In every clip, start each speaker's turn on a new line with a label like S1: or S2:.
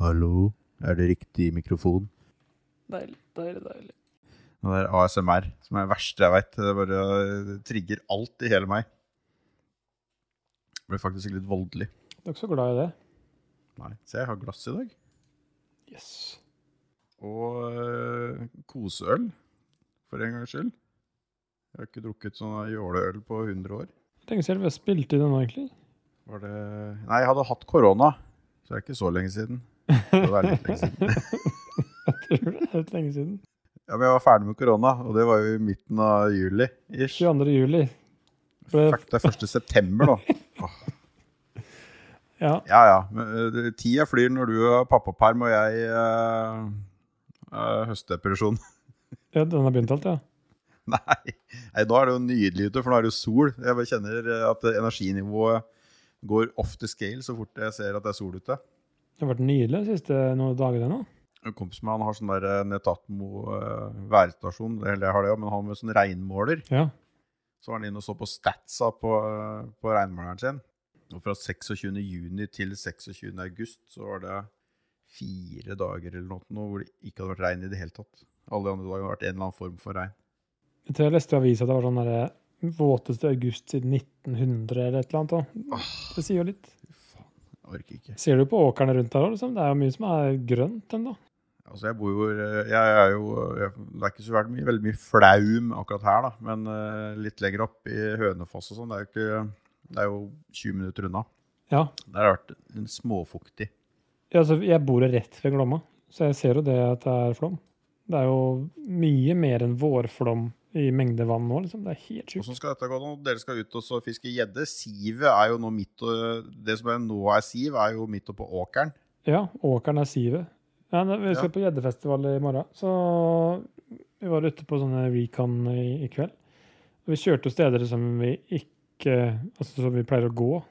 S1: Hallo, er det riktig mikrofon?
S2: Deilig, deilig, deilig.
S1: Det der ASMR, som er det verste jeg veit. Det bare eh, trigger alt i hele meg. Jeg ble faktisk litt voldelig.
S2: Du er ikke så glad i det?
S1: Nei, Se, jeg har glass i dag.
S2: Yes.
S1: Og øh, koseøl, for en gangs skyld. Jeg har ikke drukket sånn jåleøl på 100 år.
S2: Lenge siden vi har spilt i denne, egentlig.
S1: Var det Nei, jeg hadde hatt korona, så det er ikke så lenge siden. Det var litt lenge siden.
S2: Jeg tror det er litt lenge siden.
S1: Ja, men jeg var ferdig med korona, og det var jo i midten av juli. Ish.
S2: 22. juli. Ble-
S1: Fuck, det er 1. september nå.
S2: Ja,
S1: Ja, ja. Men, ø, det- Tida flyr når du har pappaperm og jeg eh, uh, høstdepresjon.
S2: ja den har begynt alt, ja.
S1: Nei. Nei, nå er det jo nydelig ute, for nå er det jo sol. Jeg bare kjenner ø, at energinivået går off the scale så fort jeg ser at det er sol ute.
S2: Det har vært nydelig de siste noen dagene nå.
S1: En kompis med han har sånn der ø, Netatmo ø, værstasjon, eller jeg har det òg, men han med sånn regnmåler.
S2: Ja.
S1: Så var han inne og så på statsa på, ø, på regnmåleren sin. Og fra 26. juni til 26. august så var det fire dager eller noe, nå hvor det ikke hadde vært regn i det hele tatt. Alle de andre dagene har det vært en eller annen form for regn.
S2: Jeg tror jeg leste i avisa at det var sånn derre våteste august siden 1900 eller et eller annet. da. Det sier jo litt.
S1: Fy faen, jeg orker ikke.
S2: Ser du på åkrene rundt her òg, liksom? Det er jo mye som er grønt ennå.
S1: Altså, jeg bor jo Jeg er jo eh, jeg, Det er ikke så veldig mye, veldig mye flaum akkurat her, da, men eh, litt lenger opp i Hønefoss og sånn, det er jo ikke Det er jo 20 minutter unna.
S2: Ja.
S1: Der har det vært en småfuktig
S2: Ja, altså, jeg bor jo rett ved Glomma, så jeg ser jo det at det er flom. Det er jo mye mer enn vårflom i mengde vann nå, liksom. Det er helt sjukt.
S1: Hvordan skal dette gå nå? Dere skal ut og så fiske gjedde. Sivet er jo nå midt og, Det som er nå er siv, er jo midt oppå åkeren.
S2: Ja, åkeren er sivet. Ja, nei, vi skal
S1: Ja.
S2: på gjeddefestival i morgen, så vi var ute på sånne recon i, i kveld. Og Vi kjørte jo steder som vi ikke Altså som vi pleier å gå.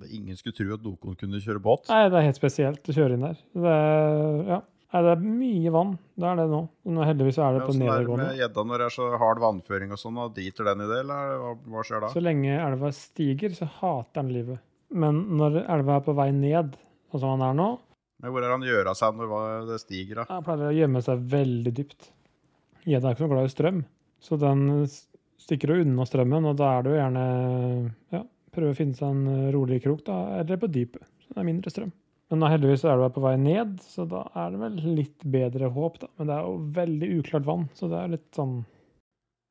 S1: Det Ingen skulle tro at Dokon kunne kjøre båt.
S2: Nei, det er helt spesielt å kjøre inn der. Det er, ja. Nei, det er mye vann. Det er det nå. Men heldigvis er det
S1: Men
S2: på
S1: Åssen er det
S2: nedadgående.
S1: med gjedda når det er så hard vannføring og sånn? da? Driter den i det, eller hva- hva skjer da?
S2: Så lenge elva stiger, så hater han livet. Men når elva er på vei ned, sånn som han er nå,
S1: Men hvor er han gjør av seg når hva- det stiger? da?
S2: han pleier å gjemme seg veldig dypt. Gjedda er ikke så glad i strøm, så den s- stikker jo unna strømmen, og da er det jo gjerne ja, prøve å finne seg en eh, rolig krok, da, eller på dypet. Så det er mindre strøm. Men da heldigvis er elva på vei ned, så da er det vel litt bedre håp, da. Men det er jo veldig uklart vann, så det er litt sånn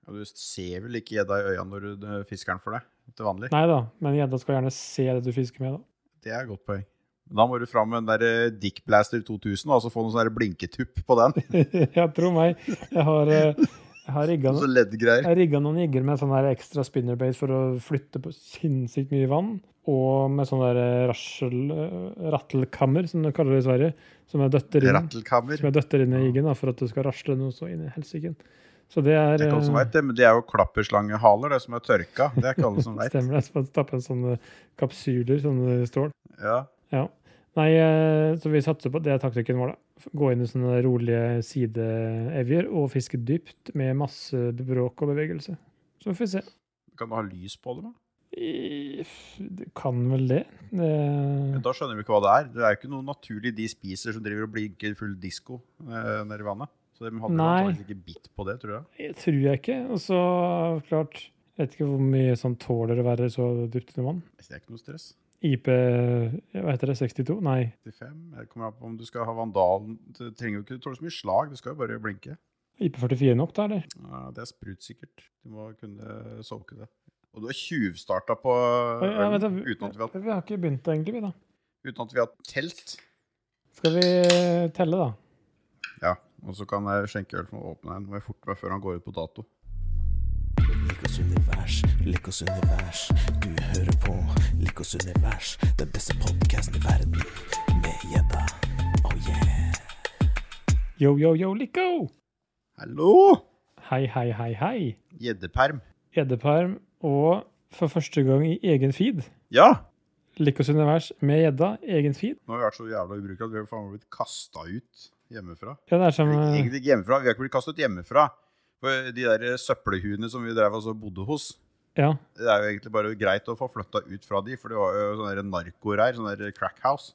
S1: Ja, du ser vel ikke gjedda i øya når du eh, fisker den for deg, til vanlig?
S2: Nei da, men gjedda skal gjerne se det du fisker med, da.
S1: Det er et godt poeng. Men Da må du fram med den der eh, Dickblaster 2000 og så få noen sånne der blinketupp på den.
S2: ja, tro meg. Jeg har, eh, jeg har rigga
S1: Så
S2: noen,
S1: leddgreier.
S2: jeg rigga noen jigger med sånn der ekstra spinnerbait for å flytte på sinnssykt mye vann. Og med sånn der eh, rassel, eh, rattelkammer, som de kaller det i Sverige. Som jeg døtter inn,
S1: Rattelkammer.
S2: som jeg døtter inn i jiggen da, for at det skal rasle noe så inn i helsiken. Så det er
S1: Det er ikke alle som
S2: eh,
S1: vet det, men det er jo klapperslangehaler, det som er tørka. Det er ikke alle som vet.
S2: Stemmer det. Så man stapper en sånne kapsyler, sånne stål.
S1: Ja.
S2: Ja. Nei, eh, så vi satser på det er taktikken vår, da. Gå inn i sånne rolige sideevjer og fiske dypt med masse bråk og bevegelse. Så får vi se.
S1: Kan du ha lys på det? da?
S2: I- Du kan vel det. det
S1: Men Da skjønner vi ikke hva det er. Det er jo ikke noe naturlig de spiser som driver og blinker full disko eh, nede i vannet. Så de hadde jo
S2: Nei.
S1: antageligvis ikke bitt på det, tror jeg.
S2: jeg tror jeg ikke. Og så klart Jeg vet ikke hvor mye sånn tåler å være så dypt under vann.
S1: Det er ikke noe stress.
S2: IP ja, Hva heter det? 62? Nei.
S1: 85. Det kommer an på om du skal ha vandalen. Du trenger jo ikke tåle så mye slag, du skal jo bare blinke.
S2: IP44 nok, da, eller?
S1: Ja, det er sprutsikkert. Du må kunne soake det. Og du har tjuvstarta på
S2: Oi, ja,
S1: ølen
S2: vent da, vi,
S1: uten, at vi har,
S2: vi har ikke begynt, egentlig, vi, da.
S1: uten at vi har telt.
S2: Skal vi eh, telle, da?
S1: Ja, og så kan jeg skjenke øl for å åpne en. Må jeg forte meg før han går ut på dato.
S3: Likos univers, Likos univers. Du hører på Likos univers. Den beste podkasten i verden med gjedda. Oh yeah.
S2: Yo, yo, yo, Lico!
S1: Hallo!
S2: Hei, hei, hei, hei.
S1: Gjeddeperm.
S2: Gjeddeperm og for første gang i egen feed.
S1: Ja!
S2: Likos univers med gjedda, egen feed.
S1: Nå har vi vært så jævla ubrukelige at vi har faen meg blitt kasta ut hjemmefra.
S2: Ja, det er som
S1: Eller,
S2: eh,
S1: Egentlig ikke hjemmefra, vi har ikke blitt kasta ut hjemmefra. For de der søppelhuene som vi drev og så bodde hos,
S2: eh, Ja,
S1: det er jo egentlig bare greit å få flytta ut fra de, for det var jo sånne der narkoreir, sånne der crackhouse.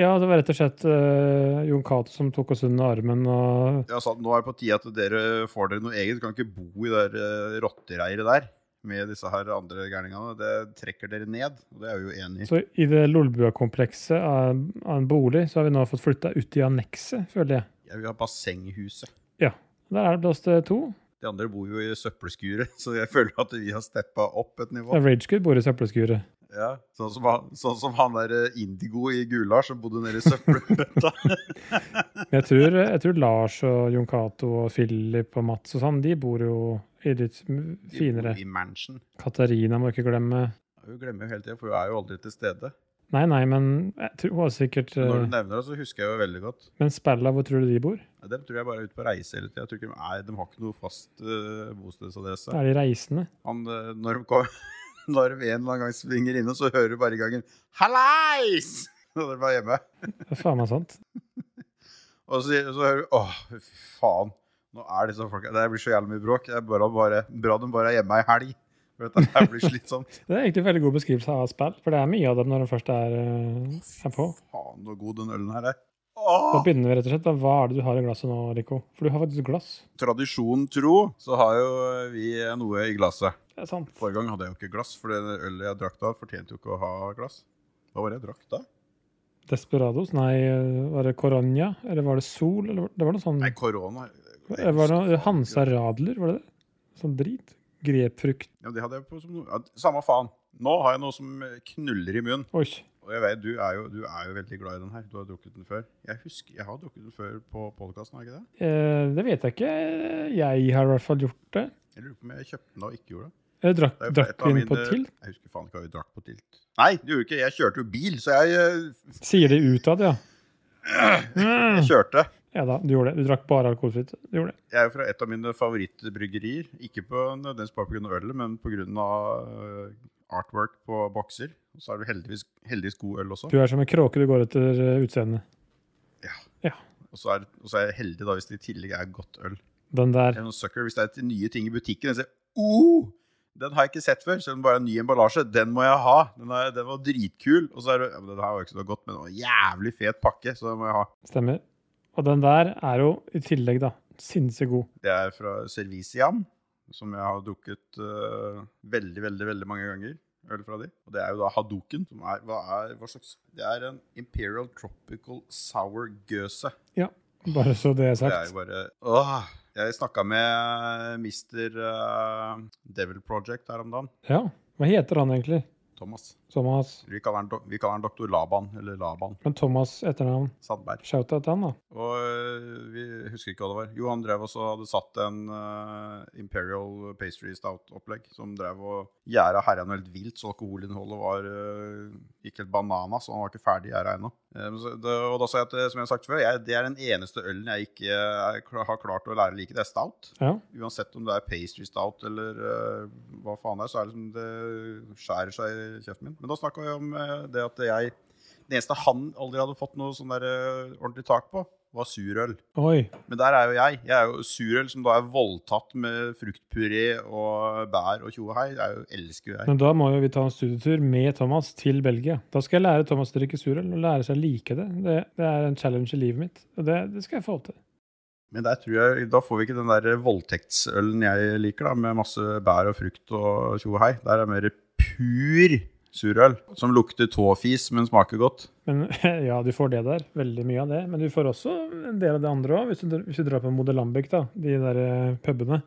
S2: Ja, det var rett og slett eh, Jon Cato som tok oss under armen og
S1: Ja, sant, nå er det på tide at dere får dere noe eget. Du kan ikke bo i det der, eh, rottereiret der med disse her andre gærningene. Det trekker dere ned, og det er vi jo enig i.
S2: Så i det Lolbua-komplekset av, av en bolig, så har vi nå fått flytta ut i annekset, føler jeg.
S1: Jeg vil ha bassenghuset.
S2: Der er det plass til to.
S1: De andre bor jo i søppelskuret, så jeg føler at vi har steppa opp et nivå.
S2: Ja, Ragegood bor i søppelskuret.
S1: Ja, sånn som han, sånn som han der eh, Indigo i Gular som bodde nede i søppelbøtta.
S2: Men jeg tror, jeg tror Lars og Jon Cato og Philip og Mats og sånn, de bor jo i litt m- finere
S1: I Mansion.
S2: Katarina må jeg ikke glemme.
S1: Hun glemmer jo hele tida, for hun er jo aldri til stede.
S2: Nei, nei, men jeg tror hun har sikkert
S1: Når du
S2: eh,
S1: nevner det, så husker jeg jo veldig godt.
S2: Men Spella, hvor tror du de bor?
S1: Nei, Dem tror jeg bare er ute på reise hele tida. Jeg tror ikke de er- De har ikke noe fast eh, bostedsadresse.
S2: Er de reisende?
S1: Han, eh, når, de kom, når de en eller annen gang svinger innom, så hører du bare i gangen 'Hallais!' Når de var hjemme.
S2: Det er faen meg sant.
S1: Og så, så hører du 'Åh, fy faen'. Nå er disse folka Det blir så jævlig mye bråk. Det er bare, bare, bra de bare er hjemme ei helg. For dette her blir slitsomt.
S2: Det er egentlig en veldig god beskrivelse av spill, for det er mye av dem når de først er, eh, er på.
S1: Faen, så god den ølen her er.
S2: Da
S1: Åh!
S2: begynner vi rett og slett. Da, hva er det du har i glasset nå, Rico? For du har faktisk glass.
S1: Tradisjonen tro, så har jo vi noe i glasset.
S2: Det er sant.
S1: Forrige gang hadde jeg jo ikke glass, for det ølet jeg drakk da, fortjente jo ikke å ha glass. Hva var det jeg drakk da?
S2: Desperados? Nei, eh, var det Coronia? Eller var det Sol? Eller var- det var noe sånn
S1: Nei, korona.
S2: Det var noe Hansa Radler, var det det? Sånn drit. Grepfrukt.
S1: Ja, det hadde jeg på som noe. Ja, samme faen. Nå har jeg noe som knuller i munnen.
S2: Oi.
S1: Og jeg vet, du er, jo, du er jo veldig glad i den her. Du har drukket den før. Jeg husker, jeg har drukket den før på podkasten, har jeg ikke det?
S2: Eh, det vet jeg ikke. Jeg har i hvert fall gjort det.
S1: Jeg lurer på om jeg kjøpte den og ikke gjorde det.
S2: Jeg drakk,
S1: det er jo
S2: drakk
S1: et av
S2: vi den
S1: mine-
S2: på til?
S1: Jeg husker faen ikke hva vi drakk på tilt. Nei, det gjorde ikke. Jeg kjørte jo bil, så jeg, eh,
S2: Sier det utad, ja. Mm.
S1: jeg kjørte.
S2: Ja da, du gjorde det. Du drakk bare alkoholfritt. Du gjorde det.
S1: Jeg er jo fra et av mine favorittbryggerier. Ikke på nødvendigvis bare pga. ølet, men pga. eh, artwork på bokser. Og så er det heldigvis, heldigvis god øl også.
S2: Du er som en kråke du går etter eh, utseendet.
S1: Og så er, og så er jeg heldig da hvis det i tillegg er godt øl.
S2: Den
S1: Jeg
S2: der.
S1: er noen sucker hvis det er til nye ting i butikken. Jeg ser, oh, den har jeg ikke sett før, selv om det bare er en ny emballasje. Den må jeg ha. Den, er, den var dritkul. Og så er det ja, men Den her var jo ikke så godt, men det var en jævlig fet pakke, så den må jeg ha.
S2: Stemmer. Og den der er jo i tillegg, da, sinnssykt god.
S1: Det er fra Serviciam, som jeg har drukket eh, veldig, veldig veldig mange ganger. Øl fra de. Og det er jo da Hadoken, som er hva, er hva slags Det er en Imperial Tropical Sour Gøse.
S2: Bare så det
S1: Det
S2: er
S1: er
S2: sagt.
S1: jo bare Åh! Jeg snakka med Mr. eh, Devil Project her om dagen.
S2: Ja. Hva heter han egentlig?
S1: Thomas.
S2: Thomas.
S1: Vi kaller han, dok- vi kaller han doktor Laban, eller Laban
S2: Men Thomas etternavn.
S1: Sandberg.
S2: Shout-out til han, da.
S1: Og øh, vi husker ikke hva det var. Jo, han drev også og hadde satt en øh, Imperial Pastry Stout-opplegg som drev og gjæra herrene helt vilt, så alkoholinnholdet var øh, gikk helt banana, så han var ikke ferdig gjæra ennå. Eh, men så- det- Og da sa jeg at, eh, som jeg har sagt før, jeg, det er den eneste ølen jeg ikke eh, er kla- har klart å lære å like, det er stout.
S2: Ja.
S1: Uansett om det er pastry stout eller eh, hva faen det er, så er det liksom det skjærer seg i kjeften min. Men da snakka jeg om eh, det at jeg Det eneste han aldri hadde fått noe sånn der eh, ordentlig tak på, var surøl.
S2: Oi.
S1: Men der er jo jeg. Jeg er jo surøl som da er voldtatt med fruktpuré og bær og tjo og hei. Jeg er jo, elsker jo jeg.
S2: Men da må jo vi ta en studietur med Thomas til Belgia. Da skal jeg lære Thomas å drikke surøl og lære seg å like det. det. Det er en challenge i livet mitt, og det, det skal jeg få til.
S1: Men der tror jeg, da får vi ikke den der voldtektsølen jeg liker, da, med masse bær og frukt og tjo og hei. Der er mer pur surøl, som lukter tåfis, men smaker godt.
S2: Men ja, du får det der. Veldig mye av det. Men du får også en del av det andre òg, hvis, du dr- hvis du drar på Modelambik, da. De der eh, pubene.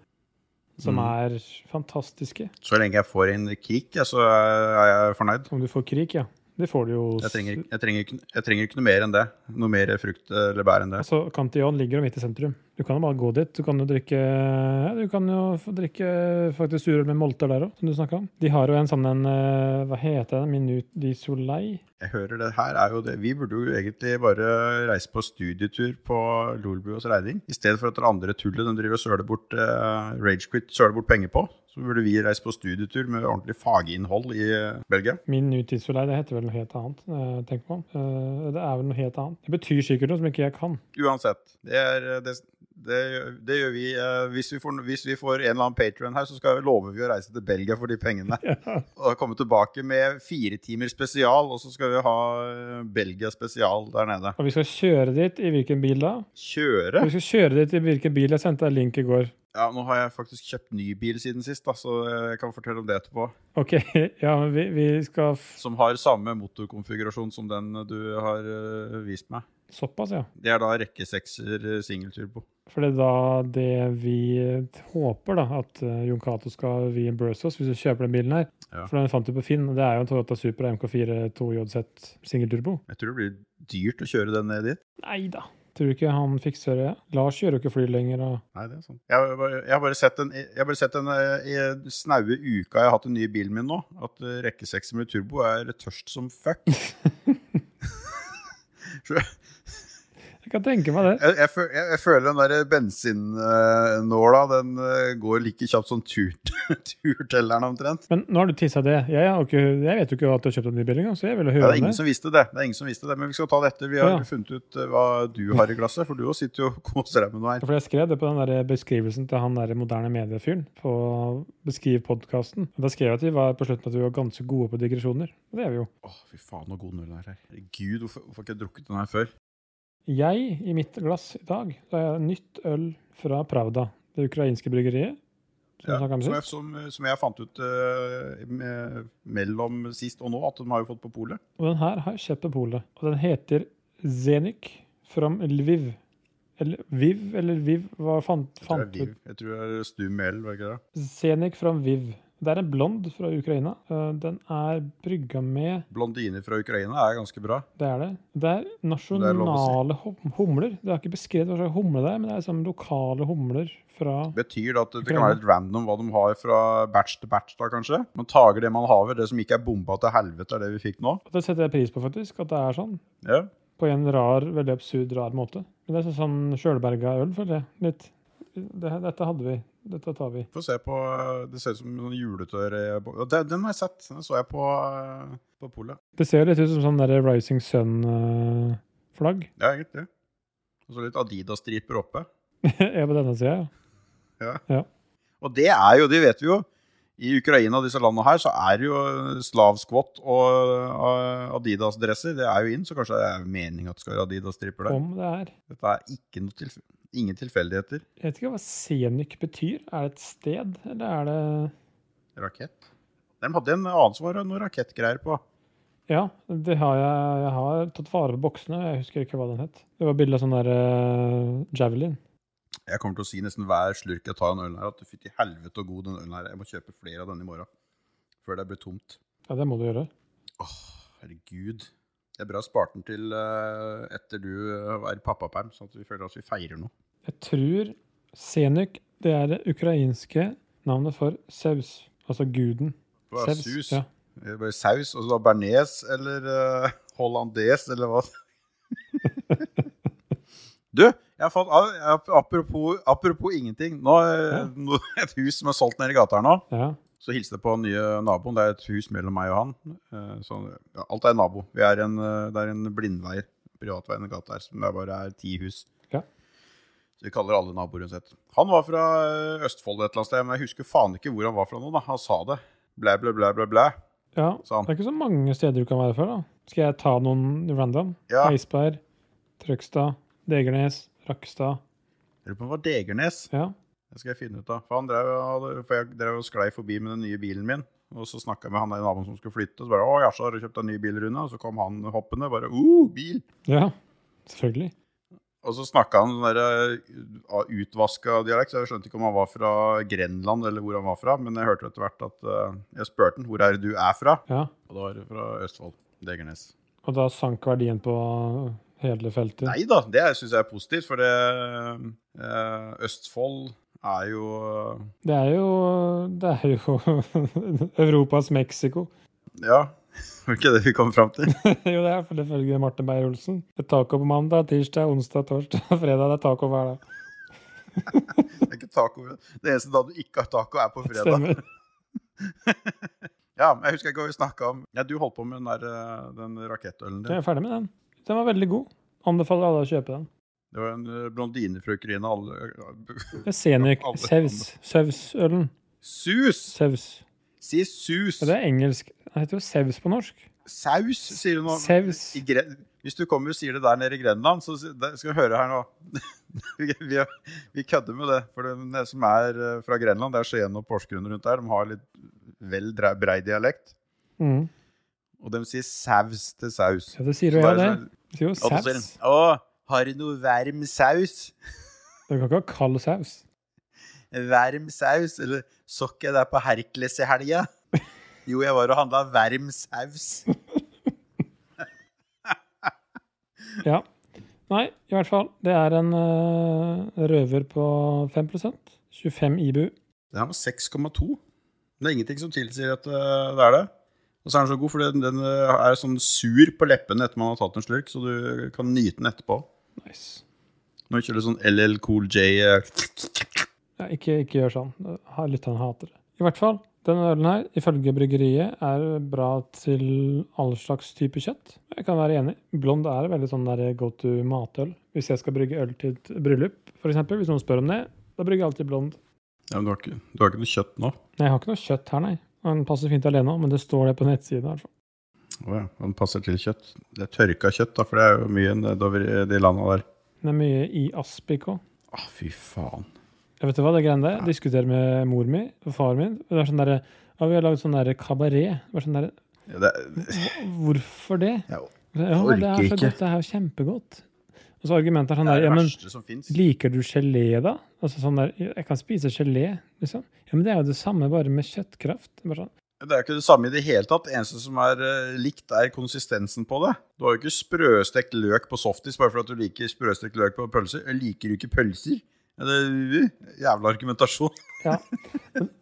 S2: Som
S1: Mm.
S2: er fantastiske.
S1: Så lenge jeg får en krik, ja, så er jeg fornøyd.
S2: Om du får krig, ja. Det får du jo
S1: Jeg trenger, ikke- jeg, trenger ikke, jeg trenger ikke noe mer enn det. Noe mer frukt eller bær enn det.
S2: Altså, Cantillon ligger jo midt i sentrum. Du kan jo bare gå dit. Du kan jo drikke ja, Du kan jo få drikke faktisk surøl med molter der òg, som du snakka om. De har jo en sånn en eh, Hva heter den? Minut di Soleil?
S1: Jeg hører det her er jo det. Vi burde jo egentlig bare reise på studietur på Lolbuas regning. I stedet for at det andre tullet de driver og søler bort eh, Ragequit søler bort penger på, så burde vi reise på studietur med ordentlig faginnhold i eh, Belgia.
S2: Minut di Soleil, det heter vel noe helt annet. eh, tenk på. Eh, det er vel noe helt annet. Det betyr sikkert noe som ikke jeg kan.
S1: Uansett. Det er, eh, det, Det, gjør- det gjør vi. Eh, Hvis vi, får, hvis vi får en eller annen patron her, så skal, lover vi å reise til Belgia for de pengene. Og komme tilbake med fire timer spesial, og så skal vi ha eh, Belgia spesial der nede.
S2: Og vi skal kjøre dit i hvilken bil da?
S1: Kjøre?
S2: Vi skal kjøre dit i hvilken bil jeg sendte deg link i går.
S1: Ja, nå har jeg faktisk kjøpt ny bil siden sist, da, så jeg kan fortelle om det etterpå.
S2: Ok, ja, men vi, vi skal f
S1: Som har samme motorkonfigurasjon som den du har eh, vist meg.
S2: Såpass, ja.
S1: Det er da rekkesekser eh, singelturbo.
S2: For det er da det vi håper, da, at eh, Jon Cato skal reimburse oss hvis du kjøper den bilen her.
S1: Ja.
S2: For den fant du på Finn. og Det er jo en Toyota Supra MK4 2JZ singelturbo.
S1: Jeg tror det blir dyrt å kjøre den ned dit.
S2: Nei da. Tror du ikke han fikser det? Lars gjør jo ikke fly lenger. Og...
S1: Nei, det er sant. Jeg har bare, jeg har bare sett den, jeg har bare sett den eh, i snaue uka jeg har hatt den nye bilen min nå, at eh, rekkesekser med turbo er tørst som fuck.
S2: Jeg kan tenke meg det.
S1: Jeg, jeg, fø- jeg, jeg føler den der bensinnåla, den eh, går like kjapt som tur, turtelleren omtrent.
S2: Men nå har du tissa det. Jeg, har ikke, jeg vet jo ikke at du har kjøpt en ny bil engang, så jeg ville
S1: Ja,
S2: høre
S1: det er
S2: om
S1: ingen
S2: det.
S1: som visste det. det er ingen som visste det, Men vi skal ta det etter. Vi har
S2: Ja.
S1: funnet ut eh, hva du har i glasset, for du også sitter jo og koser deg med noe her.
S2: For jeg skrev det på den der beskrivelsen til han der moderne mediefyren på Beskriv podkasten. Da skrev jeg at vi var på slutten at vi var ganske gode på digresjoner. Og det er vi jo.
S1: Å, fy faen, så god null er her. Herregud, hvorfor, hvorfor har ikke jeg drukket den her før?
S2: Jeg, i mitt glass i dag, så har jeg nytt øl fra Pravda, det ukrainske bryggeriet. Som
S1: Ja,
S2: vi snakket om
S1: som, jeg,
S2: sist.
S1: som, som jeg fant ut eh, med, mellom sist og nå, at de har jo fått på polet.
S2: Og den her har jeg kjøpt på polet. Og den heter Zenik from Lviv. Eller Viv, eller Viv, hva fant,
S1: Jeg tror
S2: fant
S1: det er Liv.
S2: ut?
S1: Jeg tror det er Stum L, var det ikke det?
S2: Zenik from Viv. Det er en blond fra Ukraina. Eh, Den er brygga med
S1: Blondiner fra Ukraina er ganske bra.
S2: Det er det. Det er
S1: er lov å
S2: nasjonale hum- humler. Det er ikke beskrevet hva slags humle det er, men det er liksom lokale humler fra
S1: Betyr det at det kan
S2: Ukraina.
S1: være litt random hva de har fra batch til batch, da kanskje? Man tager det man haver, det som ikke er bomba til helvete, er det vi fikk nå.
S2: Og Det setter jeg pris på, faktisk, at det er sånn.
S1: Ja.
S2: På en rar, veldig absurd rar måte. Men det er sånn sånn sjølberga øl, føler jeg. Litt. Det, dette hadde vi. Dette tar vi.
S1: Få se på eh, Det ser ut som en sånn juletørre ja, den, den har jeg sett. Den så jeg på, eh, på polet.
S2: Det ser jo litt ut som sånn der Rising eh, Sun-flagg.
S1: Ja, egentlig. Og så litt Adidas-striper oppe.
S2: er på denne sida, ja.
S1: Og det er jo, det vet vi jo, i Ukraina og disse landene her, så er det jo eh, slavskvott og eh, Adidas-dresser. Det er jo inn, så kanskje det er meningen at det skal være Adidas-striper der.
S2: Om det er.
S1: Dette er ikke noe tilf ingen tilfeldigheter.
S2: Jeg vet ikke hva Senik betyr. Er det et sted, eller er det
S1: Rakett. De hadde en annen som var noen rakettgreier på.
S2: Ja, det har jeg, jeg har tatt vare på boksene. Jeg husker ikke hva den het. Det var bilde av sånn der eh, javelin.
S1: Jeg kommer til å si nesten hver slurk jeg tar av den ølen her, at fytti helvete og god den ølen her er. Jeg må kjøpe flere av denne i morgen. Før det blir tomt.
S2: Ja, det må du gjøre.
S1: Åh, herregud. Det er bra spart den til eh, etter du eh, er i pappaperm, sånn at vi føler at vi feirer noe.
S2: Jeg tror Senik, det er det ukrainske navnet for saus. Altså guden.
S1: Hva er
S2: Saus,
S1: sus?
S2: Ja.
S1: Det er bare saus, og så da bearnés eller eh, hollandes eller hva? du, jeg har fått, ap- apropos, apropos ingenting, nå
S2: Ja.
S1: er nå- et hus som er solgt nede i gata her nå,
S2: ja.
S1: så hilste jeg på den nye naboen, det er et hus mellom meg og han. Eh, Så, ja, alt er nabo, Vi er en, eh, det er en blindvei, privatveien i gata her, som det bare er ti hus.
S2: Ja.
S1: Så vi kaller alle naboer uansett. Han var fra eh, Østfold et eller annet sted, men jeg husker faen ikke hvor han var fra nå da, han sa det. Blæ, blæ, blæ, blæ, blæ,
S2: ja.
S1: sa han.
S2: Det er ikke så mange steder du kan være før, da. Skal jeg ta noen random?
S1: Ja.
S2: Eidsberg, Trøgstad, Degernes, Rakstad.
S1: Jeg lurer på om det var Degernes.
S2: Ja.
S1: Det skal jeg finne ut av. For, han drev, og- for jeg drev og sklei forbi med den nye bilen min. Og så snakka jeg med han der naboen som skulle flytte. Og så bare 'Å, jaså, har du kjøpt deg ny bil, Rune?' Og så kom han hoppende. Bare 'Uh, bil!'
S2: ja. Selvfølgelig.
S1: Og så snakka han sånn der, uh, utvaska dialekt, så jeg skjønte ikke om han var fra Grenland eller hvor han var fra. Men jeg hørte etter hvert at uh, Jeg spurte han 'Hvor er det du er fra?'
S2: Ja.
S1: Og da var det fra Østfold. Degernes.
S2: Og da sank verdien på hele feltet.
S1: Nei da, det syns jeg er positivt, for det uh, Østfold er jo uh,
S2: Det er jo, det er jo Europas Mexico.
S1: Ja, var ikke det vi kom fram til?
S2: jo, det er for det følger Martin Beyer-Olsen. Det er taco på mandag, tirsdag, onsdag, torsdag og fredag. Det er taco hver dag.
S1: Det er ikke taco. Det eneste da du ikke har taco, er på fredag.
S2: Stemmer.
S1: Ja, men Jeg husker ikke hva vi snakka om. Ja, Du holdt på med den, der, eh, den rakettølen
S2: Jeg
S1: din.
S2: er ferdig med den. Den var veldig god. Anbefaler alle å kjøpe den.
S1: Det var en eh, blondinefrøken i en alle
S2: Jeg ser den ikke.
S1: Alle
S2: Saus. Sausølen.
S1: Sus!
S2: Saus.
S1: Si sus!
S2: Ja, det er engelsk. Det heter jo saus på norsk.
S1: Saus, sier du nå.
S2: Saus.
S1: I Gre Hvis du kommer og sier det der nede i Grenland, så si- det skal du høre her nå. vi, vi, vi kødder med det. For de som er eh, fra Grenland, det er Skien og Porsgrunn rundt der, de har litt vel dre- brei dialekt.
S2: Mm.
S1: Og de sier saus til saus.
S2: Ja, det sier jo jeg, det.
S1: sånn-
S2: Det sier jo
S1: Og så sier de,
S2: saus.
S1: Å, har du noe varm saus?
S2: Du kan ikke ha kald saus.
S1: Varm saus? Eller så ikke jeg deg på Hercules i helga? Jo, jeg var og handla varm saus.
S2: Ja. Nei, i hvert fall. Det er en eh, røver på 5 25 IBU.
S1: Den her var 6,2. Det er ingenting som tilsier at eh, det er det. Og så er den så god, for den, den eh, er sånn sur på leppene etter man har tatt en slurk, så du kan nyte den etterpå.
S2: Nice.
S1: Nå kjører du sånn LL Cool J eh,
S2: Ja, ikke, ikke gjør sånn. Ha- Lytterne hater det. I hvert fall, denne ølen her, ifølge bryggeriet, er bra til all slags type kjøtt. Jeg kan være enig. Blond er veldig sånn der go to matøl. Hvis jeg skal brygge øl til et bryllup, f.eks., hvis noen spør om det, da brygger jeg alltid blond.
S1: Ja, men du har, ikke, du har ikke noe kjøtt nå? Å
S2: Nei, jeg har ikke noe kjøtt her, nei. Den passer fint alene òg, men det står det på nettsiden. i hvert fall.
S1: ja, den passer til kjøtt. Det er tørka kjøtt, da, for det er jo mye nedover i de landa der.
S2: Den er mye i aspik òg.
S1: Å, fy faen.
S2: Jeg vet du hva, det greiene der, diskuterer med mor mi og far min. Det var sånn derre ja, vi har lagd sånn derre kabaret. Det var Sånn derre,
S1: Ja, det, er-
S2: hvorfor det?
S1: ja,
S2: Ja,
S1: orker
S2: men det er så
S1: ikke.
S2: godt, det er jo kjempegodt. Og så argumentet er sånn
S1: det
S2: der,
S1: er
S2: ja,
S1: det
S2: men
S1: verste som fins.
S2: liker du gelé da? Altså sånn der, jeg kan spise gelé, liksom. Ja, men det er jo det samme, bare med kjøttkraft. Det er Bare sånn,
S1: Det er jo ikke det samme i det hele tatt. Det eneste som er eh, likt, er konsistensen på det. Du har jo ikke sprøstekt løk på softis bare for at du liker sprøstekt løk på pølser. Jeg liker jo ikke pølser. Ja, Det er jo jævla argumentasjon.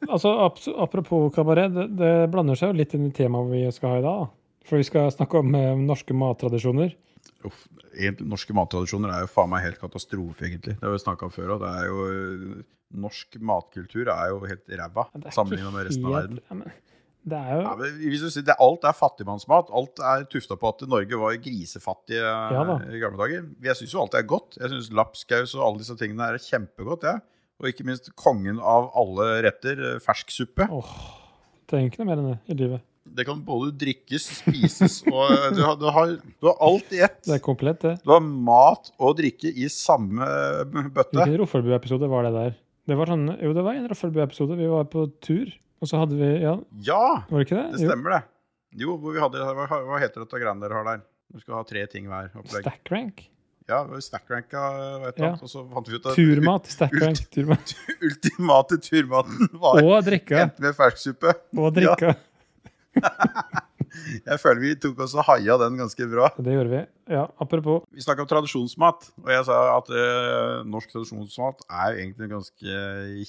S2: Altså, abs- Apropos kabaret, det, det blander seg jo litt inn i temaet vi skal ha i dag. da. For vi skal snakke om eh, norske mattradisjoner.
S1: Uff, egentlig, norske mattradisjoner er jo faen meg helt katastrofe, egentlig. Det har vi snakka om før og Det er jo eh, Norsk matkultur er jo helt ræva
S2: Men det er ikke
S1: sammenligna med resten av
S2: helt-
S1: verden.
S2: Ja, men, det er jo,
S1: Ja, men hvis du sier det, Alt er fattigmannsmat. Alt er tufta på at Norge var grisefattige eh,
S2: da.
S1: i gamle dager. Jeg syns jo alt er godt. Jeg syns lapskaus og alle disse tingene er kjempegodt. jeg. Og ikke minst kongen av alle retter, eh, fersksuppe.
S2: åh, trenger ikke noe mer enn det i livet.
S1: Det kan både drikkes, spises og eh, du har, du har, du har alt i ett.
S2: Det er komplett, det.
S1: Du har mat og drikke i samme bøtte.
S2: Hvilken Roffelbu-episode var det der? Det var sånn, jo, det var en Roffelbu-episode. Vi var på tur, og så hadde vi Ja,
S1: Ja,
S2: var det ikke det?
S1: det stemmer, det. Jo, hvor vi hadde, hva, hva heter dette greiene dere har der? Du skal ha tre ting hver.
S2: Jo,
S1: opplegg.
S2: stack rank.
S1: Ja, Snackranka, vet du.
S2: Ja.
S1: Og så fant vi ut at
S2: Turmat. Stack rank. Turmat.
S1: ultimate turmaten var
S2: Og drikka.
S1: Endte med fersksuppe.
S2: Og drikka.
S1: Jeg føler vi tok oss og haia den ganske bra.
S2: Det gjorde vi. Ja, apropos.
S1: Vi snakka om tradisjonsmat, og jeg sa at eh, norsk tradisjonsmat er egentlig ganske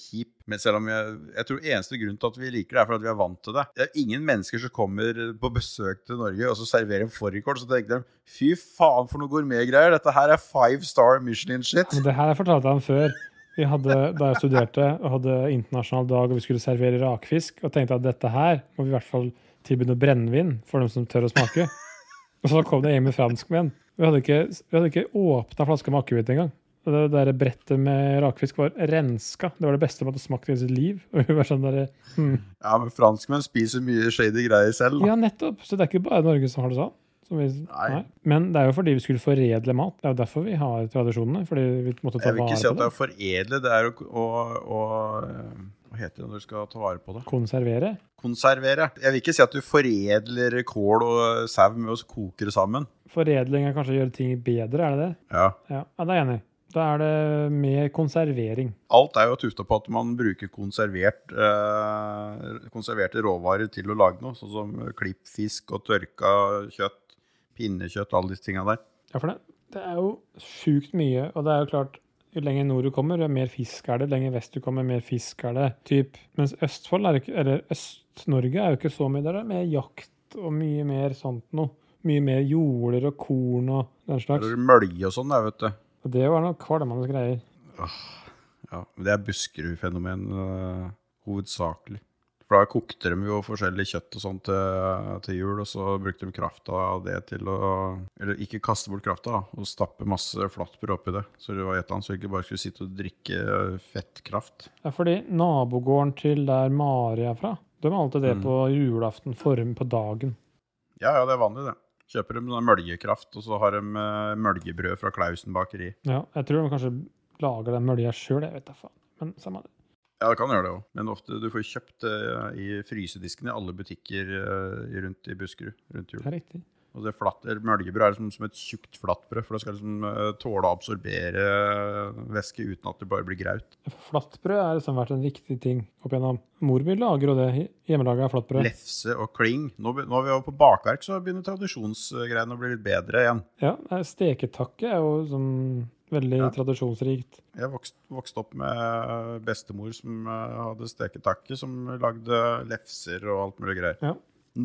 S1: kjip. Men selv om jeg, jeg tror eneste grunnen til at vi liker det, er for at vi er vant til det. Det er ingen mennesker som kommer på besøk til Norge og så serverer fårikål, så tenker de fy faen for noe gourmetgreier, dette her er five star Michelin-shit.
S2: Men det her jeg fortalte han før. Vi hadde, da jeg studerte og hadde internasjonal dag og vi skulle servere rakfisk, og tenkte at dette her må vi i hvert fall tilby noe brennevin for dem som tør å smake. Og så kom det hjem med franskmenn. Vi hadde ikke, vi hadde ikke åpna flaska med akevitt engang. Og Det der brettet med rakfisk var renska. Det var det beste man hadde smakt i sitt liv. Og vi var sånn der, hmm.
S1: Ja, men franskmenn spiser mye shady greier selv. da.
S2: Ja, nettopp! Så det er ikke bare Norge som har det sånn. Som vi,
S1: Nei.
S2: nei. Men det er jo fordi vi skulle foredle mat. Det er jo derfor vi har tradisjonene. Fordi vi måtte ta
S1: Jeg vil
S2: vare
S1: ikke si
S2: på
S1: at det
S2: det.
S1: er foredle, det er å, å, å eh, Hva heter det når du skal ta vare på det?
S2: Konservere.
S1: konservere. Jeg vil ikke si at du foredler kål og sau med å koke det sammen.
S2: Foredling er kanskje å gjøre ting bedre, er det det?
S1: Ja.
S2: Ja, ja det er jeg enig. i. Da er det mer konservering.
S1: Alt er jo tufta på at man bruker konservert, eh, konserverte råvarer til å lage noe, sånn som klippfisk og tørka kjøtt, pinnekjøtt, alle disse tinga der.
S2: Ja, for det, det er jo sjukt mye, og det er jo klart jo lenger nord du kommer, jo mer fisk er det. Lenger vest du kommer, mer fisk er det. Typ. Mens Østfold, er ikke, eller Øst-Norge, er jo ikke så mye der. Det er mer jakt og mye mer sånt noe. Mye mer jorder og korn og den slags.
S1: Eller mølje og sånn, der, vet du.
S2: Og det var noe kvalmende greier.
S1: Ja, men det er Buskerud-fenomen eh, hovedsakelig. For da kokte de jo forskjellig kjøtt og sånt til, til jul, og så brukte de krafta av det til å Eller ikke kaste bort krafta, da, og stappe masse flatbrød oppi det. Så det var et eller annet, så du ikke bare skulle sitte og drikke eh, fettkraft.
S2: Ja, fordi nabogården til der Mari er fra, de har alltid det
S1: Mm.
S2: på julaften form på dagen.
S1: Ja, ja, det er vanlig, det. Kjøper de sånn møljekraft, og så har de eh, møljebrød fra Klausen bakeri.
S2: Ja, jeg tror de kanskje lager den mølja sjøl, jeg vet da faen. Men samme det.
S1: Ja, det kan gjøre det òg, men ofte du får kjøpt eh, i frysedisken i alle butikker eh, rundt i Buskerud rundt jul.
S2: Det er riktig.
S1: Og det flatt, eller Møljebrød er liksom som et tjukt flatbrød, for det skal liksom eh, tåle å absorbere eh, væske uten at det bare blir graut.
S2: Flatbrød har liksom vært en viktig ting opp igjennom. Mor mi lager jo det. Hjemmelaga flatbrød.
S1: Lefse og kling. Nå, be- nå er vi over på bakverk, så begynner tradisjonsgreiene å bli litt bedre igjen.
S2: Ja, eh, steketakke er jo sånn veldig
S1: Ja.
S2: tradisjonsrikt.
S1: Jeg vokste, vokste opp med bestemor som eh, hadde steketakke, som lagde lefser og alt mulig greier.
S2: Ja.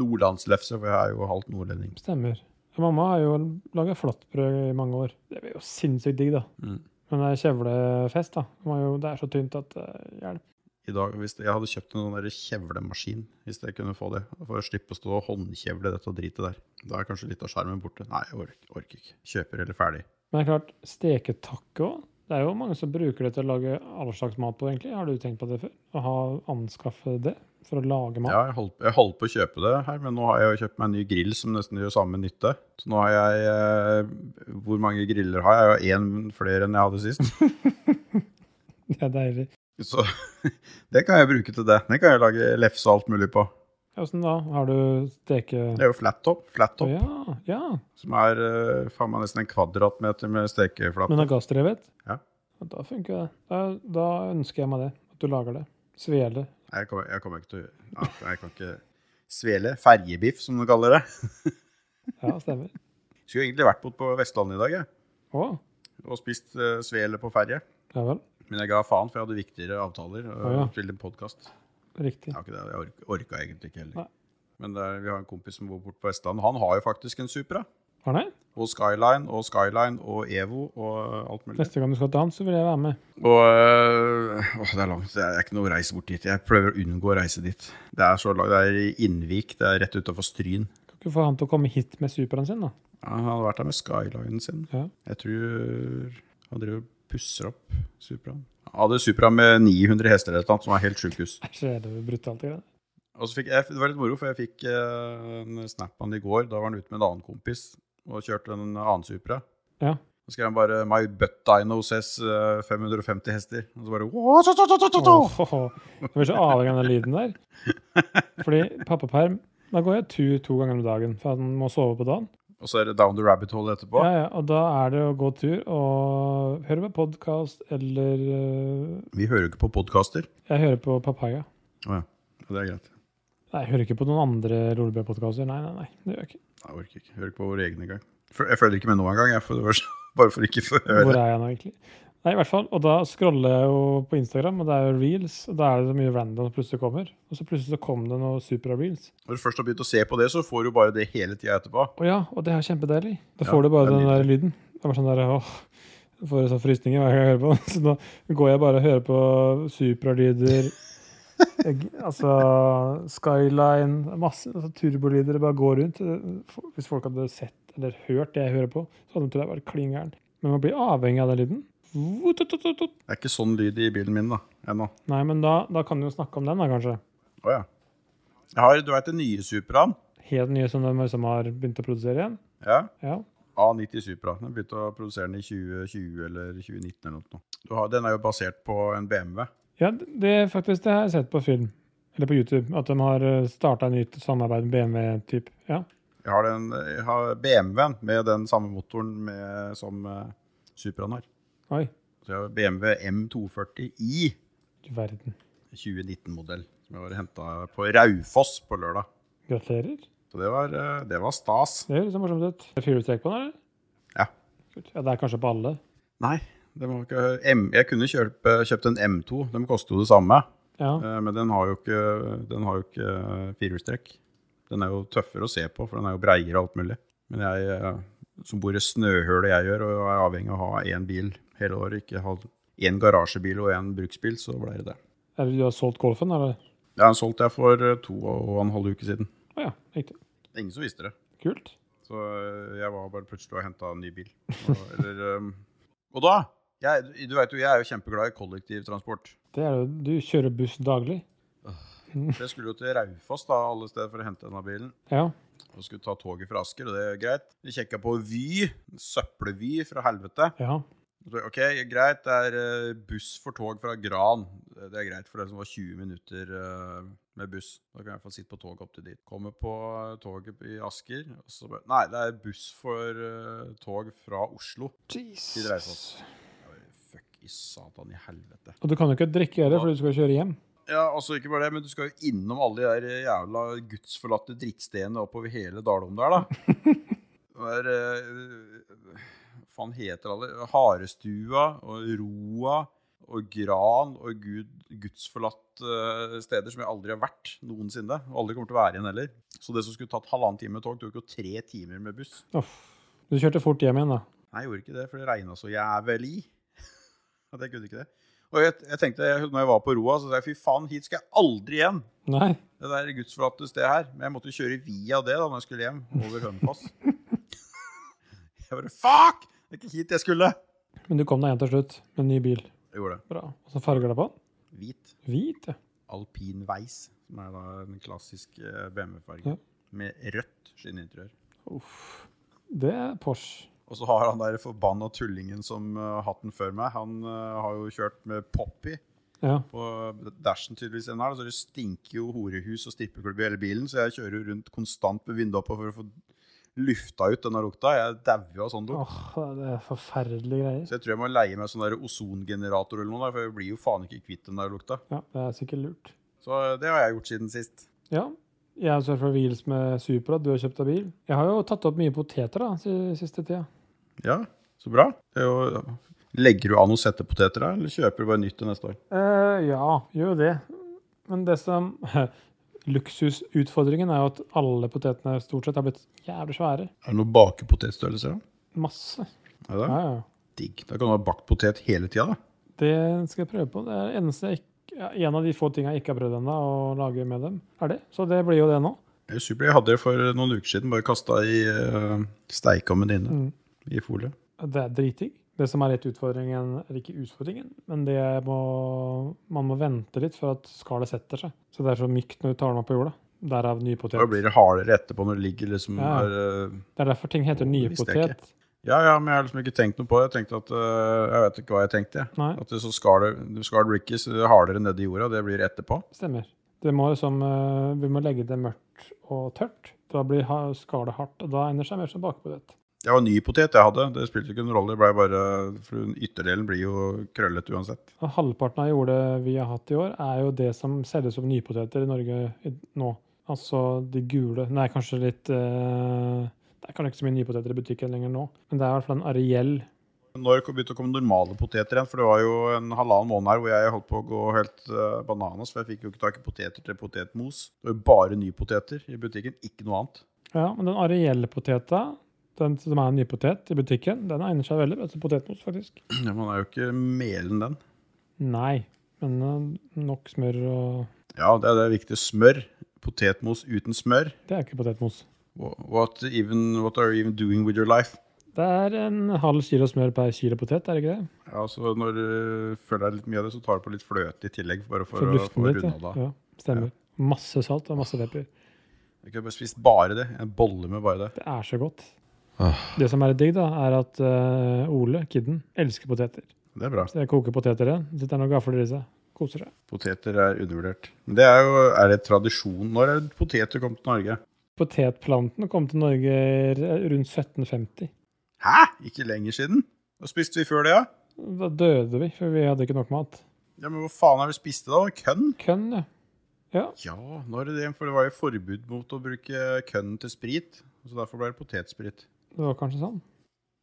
S1: Nordlandslefse, for jeg er jo halvt nordlending.
S2: Stemmer. Ja, Mamma har jo laga flatbrød i mange år. Det blir jo sinnssykt digg, da.
S1: Mm.
S2: Men det er kjevlefest, da. Det, var jo, det er så tynt at uh, hjelp.
S1: I dag, hvis jeg hadde kjøpt en sånn der kjevlemaskin, hvis jeg kunne få det, for å slippe å stå og håndkjevle dette dritet der. Da er kanskje litt av skjermen borte. Nei, jeg ork, orker ikke. Kjøper eller ferdig.
S2: Men det er klart, steketakke òg. Det er jo mange som bruker det til å lage all slags mat på, egentlig. Har du tenkt på det før? Å ha anskaffe det for å lage mat?
S1: Ja, jeg holdt, jeg holdt på å kjøpe det her, men nå har jeg jo kjøpt meg en ny grill som nesten gjør samme nytte. Så nå har jeg eh, Hvor mange griller har jeg? Jeg har én flere enn jeg hadde sist.
S2: Det er deilig.
S1: Så det kan jeg bruke til det. Det kan jeg lage lefse og alt mulig på.
S2: Åssen sånn da? Har du steke...
S1: Det er jo flattop, flattop
S2: Ja, ja.
S1: som er eh, faen meg nesten en kvadratmeter med stekeflate.
S2: Men det er gassdrevet?
S1: Ja.
S2: Da funker det. Da, da ønsker jeg meg det. At du lager det. Svele.
S1: Jeg kommer, jeg kommer ikke til å ja, Jeg kan ikke svele. Ferjebiff, som de kaller det.
S2: Ja, stemmer.
S1: Skulle egentlig vært bort på Vestlandet i dag jeg,
S2: Å,
S1: og spist eh, svele på ferje.
S2: ja vel.
S1: Men jeg ga faen, for jeg hadde viktigere avtaler eh,
S2: Å, ja.
S1: til en podkast.
S2: Riktig.
S1: Jeg, har ikke det, jeg ork, orka egentlig ikke heller.
S2: Nei.
S1: Men det er, vi har en kompis som bor borte på Vestlandet. Han har jo faktisk en Supra.
S2: Var det?
S1: Og Skyline og Skyline og Evo og eh, alt mulig.
S2: Neste gang du skal til han, så vil jeg være med.
S1: Og øh, åh, det er langt. Det er ikke noe å reise bort dit. Jeg prøver å unngå å reise dit. Det er så langt. Det er i Innvik. Det er rett utafor Stryn.
S2: Kan ikke få han til å komme hit med superen sin, da.
S1: Ja, han hadde vært der med Skylinen sin.
S2: Ja.
S1: Jeg tror han driver og pusser opp Supraen. Han hadde Supra med 900 hester eller noe, som var helt sjukehus.
S2: Æsj, det er jo brutalt. ikke det?
S1: Og så fikk jeg, det var litt moro, for jeg fikk eh, en snap av han i går. Da var han ute med en annen kompis og kjørte en annen Supra.
S2: Ja.
S1: Så skrev han bare 'My butt dino says eh, 550 hester'. Og så bare «Åh, så, så, så, så, så, så!»
S2: Åh, åh, åh. Jeg blir så avhengig av den lyden der. Fordi pappaperm Da går jeg tur to ganger om dagen, for han må sove på dagen.
S1: Og så er det 'Down the rabbit hole' etterpå.
S2: Ja, ja, og da er det å gå tur og høre på podkast eller øh,
S1: Vi hører jo ikke på podkaster.
S2: Jeg hører på Papaya.
S1: Å ja. ja. Det er greit.
S2: Nei, jeg hører ikke på noen andre Lolebø-podkaster. Nei, nei, nei. det gjør jeg ikke.
S1: Jeg orker ikke. Hører ikke på våre egne engang. Fø- Jeg følger ikke med nå engang, jeg, for det var så- bare for ikke å få
S2: Hvor
S1: høre.
S2: er jeg nå, egentlig? Nei, i hvert fall. Og da scroller jeg jo på Instagram, og det er jo reels. Og da er det så mye random som plutselig kommer. Og så plutselig så kom det noe supra-reels.
S1: Når du først har begynt å se på det, så får du bare det hele tida etterpå.
S2: Å ja, og det er kjempedeilig. Da
S1: Ja,
S2: får du bare
S1: det er
S2: den der lyden. Det var sånn der, åh, jeg får sånn frysninger hver gang jeg hører på den. Så nå går jeg bare og hører på supralyder. Jeg- Altså Skyline, masse altså, turbolyder. Det bare går rundt. Hvis folk hadde sett eller hørt det jeg hører på, så hadde de trodd jeg var klin gæren. Men man blir avhengig av den lyden. Vututututut.
S1: Det er ikke sånn lyd i bilen min da, ennå.
S2: Nei, men da, da kan du jo snakke om den, da, kanskje.
S1: Å ja. Jeg har, du veit den nye Supraen?
S2: Helt nye som de liksom har begynt å produsere igjen.
S1: Ja.
S2: Ja.
S1: A90 Supra. Den begynte å produsere den i 2020 eller 2019 eller noe. Du har, den er jo basert på en BMW.
S2: Ja, det faktisk det har jeg sett på film. Eller på YouTube. At de har starta et nytt samarbeid med BMW-typ. Ja.
S1: Jeg har, den- jeg har BMW-en med den samme motoren med, som eh, Supraen har.
S2: Oi,
S1: Så jeg har BMW M240i
S2: du verden.
S1: 2019-modell, som jeg var henta på Raufoss på lørdag.
S2: Gratulerer.
S1: Så det var, eh, det var stas.
S2: Det høres så morsomt ut. Er det Firehjulstrekk på den, eller?
S1: Ja.
S2: Kult. Ja, det er kanskje på alle.
S1: Nei, det var ikke M, Jeg kunne kjøpe, kjøpt en M2, de koster jo det samme.
S2: Ja.
S1: eh, Men den har jo ikke, den har jo ikke eh, firehjulstrekk. Den er jo tøffere å se på, for den er jo breiere og alt mulig. Men jeg eh, som bor i snøhølet jeg gjør, og er avhengig av å ha én bil hele året, ikke ha én garasjebil og én bruksbil, så ble det det.
S2: Eller du har solgt Golfen, eller?
S1: Ja, Den solgte jeg for eh, to og en halv uke siden.
S2: Å ja, riktig.
S1: Ingen som visste det.
S2: Kult.
S1: Så eh, jeg var bare plutselig og henta en ny bil. Og, eller, eh, og da jeg, Du veit jo, jeg er jo kjempeglad i kollektivtransport.
S2: Det er jo, du kjører buss daglig.
S1: Jeg skulle jo til Raufoss da, alle steder for å hente denne bilen.
S2: Ja.
S1: Og skulle ta toget fra Asker, og det er greit. Vi kjekka på Vy, søppelvy fra helvete.
S2: ja.
S1: Så, Ok, greit, det er eh, buss for tog fra Gran. Det er greit for det som var 20 minutter eh, med buss. Da kan jeg i hvert fall sitte på toget opp til dit. Kommer på eh, toget i Asker, og så bare Nei, det er buss for eh, tog fra Oslo. Til Raufoss. Jeg bare, Fuck i satan i helvete.
S2: Og du kan jo ikke drikke heller, fordi du skal kjøre hjem.
S1: Ja, altså ikke bare det, men du skal jo innom alle de der eh, jævla gudsforlatte drittstedene oppover hele Dalom der, da. Det er eh, Hva faen heter alle? Harestua og Roa og Gran og gud, gudsforlatt eh, steder som jeg aldri har vært noensinne. Og aldri kommer til å være igjen heller. Så det som skulle tatt halvannen time med tog, tok jo tre timer med buss.
S2: Uff. Du kjørte fort hjem igjen, da.
S1: Nei, jeg gjorde ikke det, for det regna så jævlig. At jeg kunne ikke det. Og jeg, jeg tenkte, jeg, når jeg var på Roa, så sa jeg fy faen, hit skal jeg aldri igjen
S2: Nei.
S1: det der gudsforlatte stedet her. Men jeg måtte jo kjøre via det da når jeg skulle hjem, over Hønefoss. Jeg bare Fuck! Det er ikke hit jeg skulle!
S2: Men du kom deg hjem til slutt med en ny bil.
S1: Jeg gjorde det.
S2: Bra. Og så farger du på den?
S1: Hvit.
S2: Hvit, ja.
S1: Alpinveis, som er da den klassiske eh,
S2: Ja.
S1: BMW-fargen. Med rødt skinninteriør.
S2: Uff. Det er Porsche.
S1: Og så har han der forbanna tullingen som eh, hatt den før meg, han eh, har jo kjørt med Poppy
S2: Ja.
S1: på dashen tydeligvis den her. Så det stinker jo horehus og strippeklubb i hele bilen, så jeg kjører jo rundt konstant med vinduet oppe for å få lufta ut denne lukta. Jeg dauer jo av sånn lukt.
S2: Åh, det er forferdelige greier.
S1: Så jeg tror jeg må leie meg sånn der ozongenerator eller noe, da, for jeg blir jo faen ikke kvitt den der lukta.
S2: Ja, det er sikkert lurt.
S1: Så eh, det har jeg gjort siden sist.
S2: Ja. Jeg har surfa wheels med Supra, du har kjøpt deg bil. Jeg har jo tatt opp mye poteter da, si- siste tida.
S1: Ja, så bra. Det er jo, legger du av noen settepoteter da, eller kjøper du bare nytt til neste år?
S2: Eh, ja, gjør jo det. Men det som Luksusutfordringen er jo at alle potetene stort sett har blitt jævlig svære.
S1: Er det noe bakepotetstørrelse? da?
S2: Masse.
S1: Er det
S2: Ja,
S1: det?
S2: ja.
S1: Digg. Da kan du ha bakt potet hele tida, da.
S2: Det skal jeg prøve på. Det er det eneste jeg ikke, ja, en av de få tingene jeg ikke har prøvd ennå å lage med dem. Er det. Så det blir jo det nå.
S1: Det er jo supert. Jeg hadde det for noen uker siden, bare kasta i uh, steikeovnen inne
S2: Mm.
S1: i folie.
S2: Det er dritdigg. Det som er litt utfordringen, eller ikke utfordringen, men det jeg må, man må vente litt for at skallet setter seg. Så det er så mykt når du tar den opp på jorda. Derav nye potet.
S1: Da blir det hardere etterpå når det ligger liksom
S2: Ja.
S1: der, eh,
S2: Det er derfor ting heter nye
S1: Visste jeg
S2: potet.
S1: Ja, ja, men jeg har liksom ikke tenkt noe på det. Jeg tenkte at, øh, jeg vet ikke hva jeg tenkte. jeg.
S2: Nei.
S1: At det så skal det, det skal bli ikke så hardere nede i jorda, det blir etterpå.
S2: Stemmer. Det må liksom, eh, vi må legge det mørkt og tørt. Da blir ha- skallet hardt, og da egner seg mer som bakepotet.
S1: Det var ny potet jeg hadde, det spilte ikke noen rolle. Det ble bare, for ytterdelen blir jo krøllet uansett.
S2: Og halvparten av jordet vi har hatt i år, er jo det som selges som nypoteter i Norge i, nå. Altså de gule Nei, kanskje litt eh, Det er kanskje ikke så mye nypoteter i butikken lenger nå, men det er i hvert fall en areell
S1: Når kom- begynte det å komme normale poteter igjen? For det var jo en halvannen måned her hvor jeg holdt på å gå helt øh, bananas, for jeg fikk jo ikke tak i poteter til potetmos. Det var jo bare nypoteter i butikken, ikke noe annet.
S2: Ja, men den areelle poteta, den som er en ny potet i butikken, den egner seg veldig bra til potetmos, faktisk.
S1: Ja, Man er jo ikke melen den.
S2: Nei, men eh, nok smør og
S1: Ja, det er det viktige. Smør. Potetmos uten smør.
S2: Det er ikke potetmos.
S1: Wha- What, even, what are you even doing with your life?
S2: Det er en halv kilo smør per kilo potet, er det ikke det?
S1: Ja, så Når du føler deg litt mye av det, så tar du på litt fløte i tillegg. bare for, å
S2: For
S1: få
S2: luften litt.
S1: runda
S2: Ja.
S1: det av.
S2: ja, stemmer. Masse salt og masse pepper.
S1: Jeg kunne bare spist bare det. En bolle med bare det.
S2: Det er så godt. Det som er digg, da, er at eh, Ole, kidden, elsker poteter.
S1: Det er bra.
S2: Så jeg koker poteter igjen. Sitter han og gafler i seg. Koser seg.
S1: Poteter er undervurdert. Men det er jo er det tradisjon. Når er det poteter kom til Norge?
S2: Potetplanten kom til Norge r- rundt 1750.
S1: Hæ? Ikke lenger siden? Hva spiste vi før det, ja?
S2: Da døde vi, for vi hadde ikke nok mat.
S1: Ja, Men hva faen har vi spist det da? Kønn?
S2: Kønn, ja.
S1: Ja, når er det det? For det var jo forbud mot å bruke kønn til sprit. Så derfor ble det potetsprit.
S2: Det var kanskje sånn.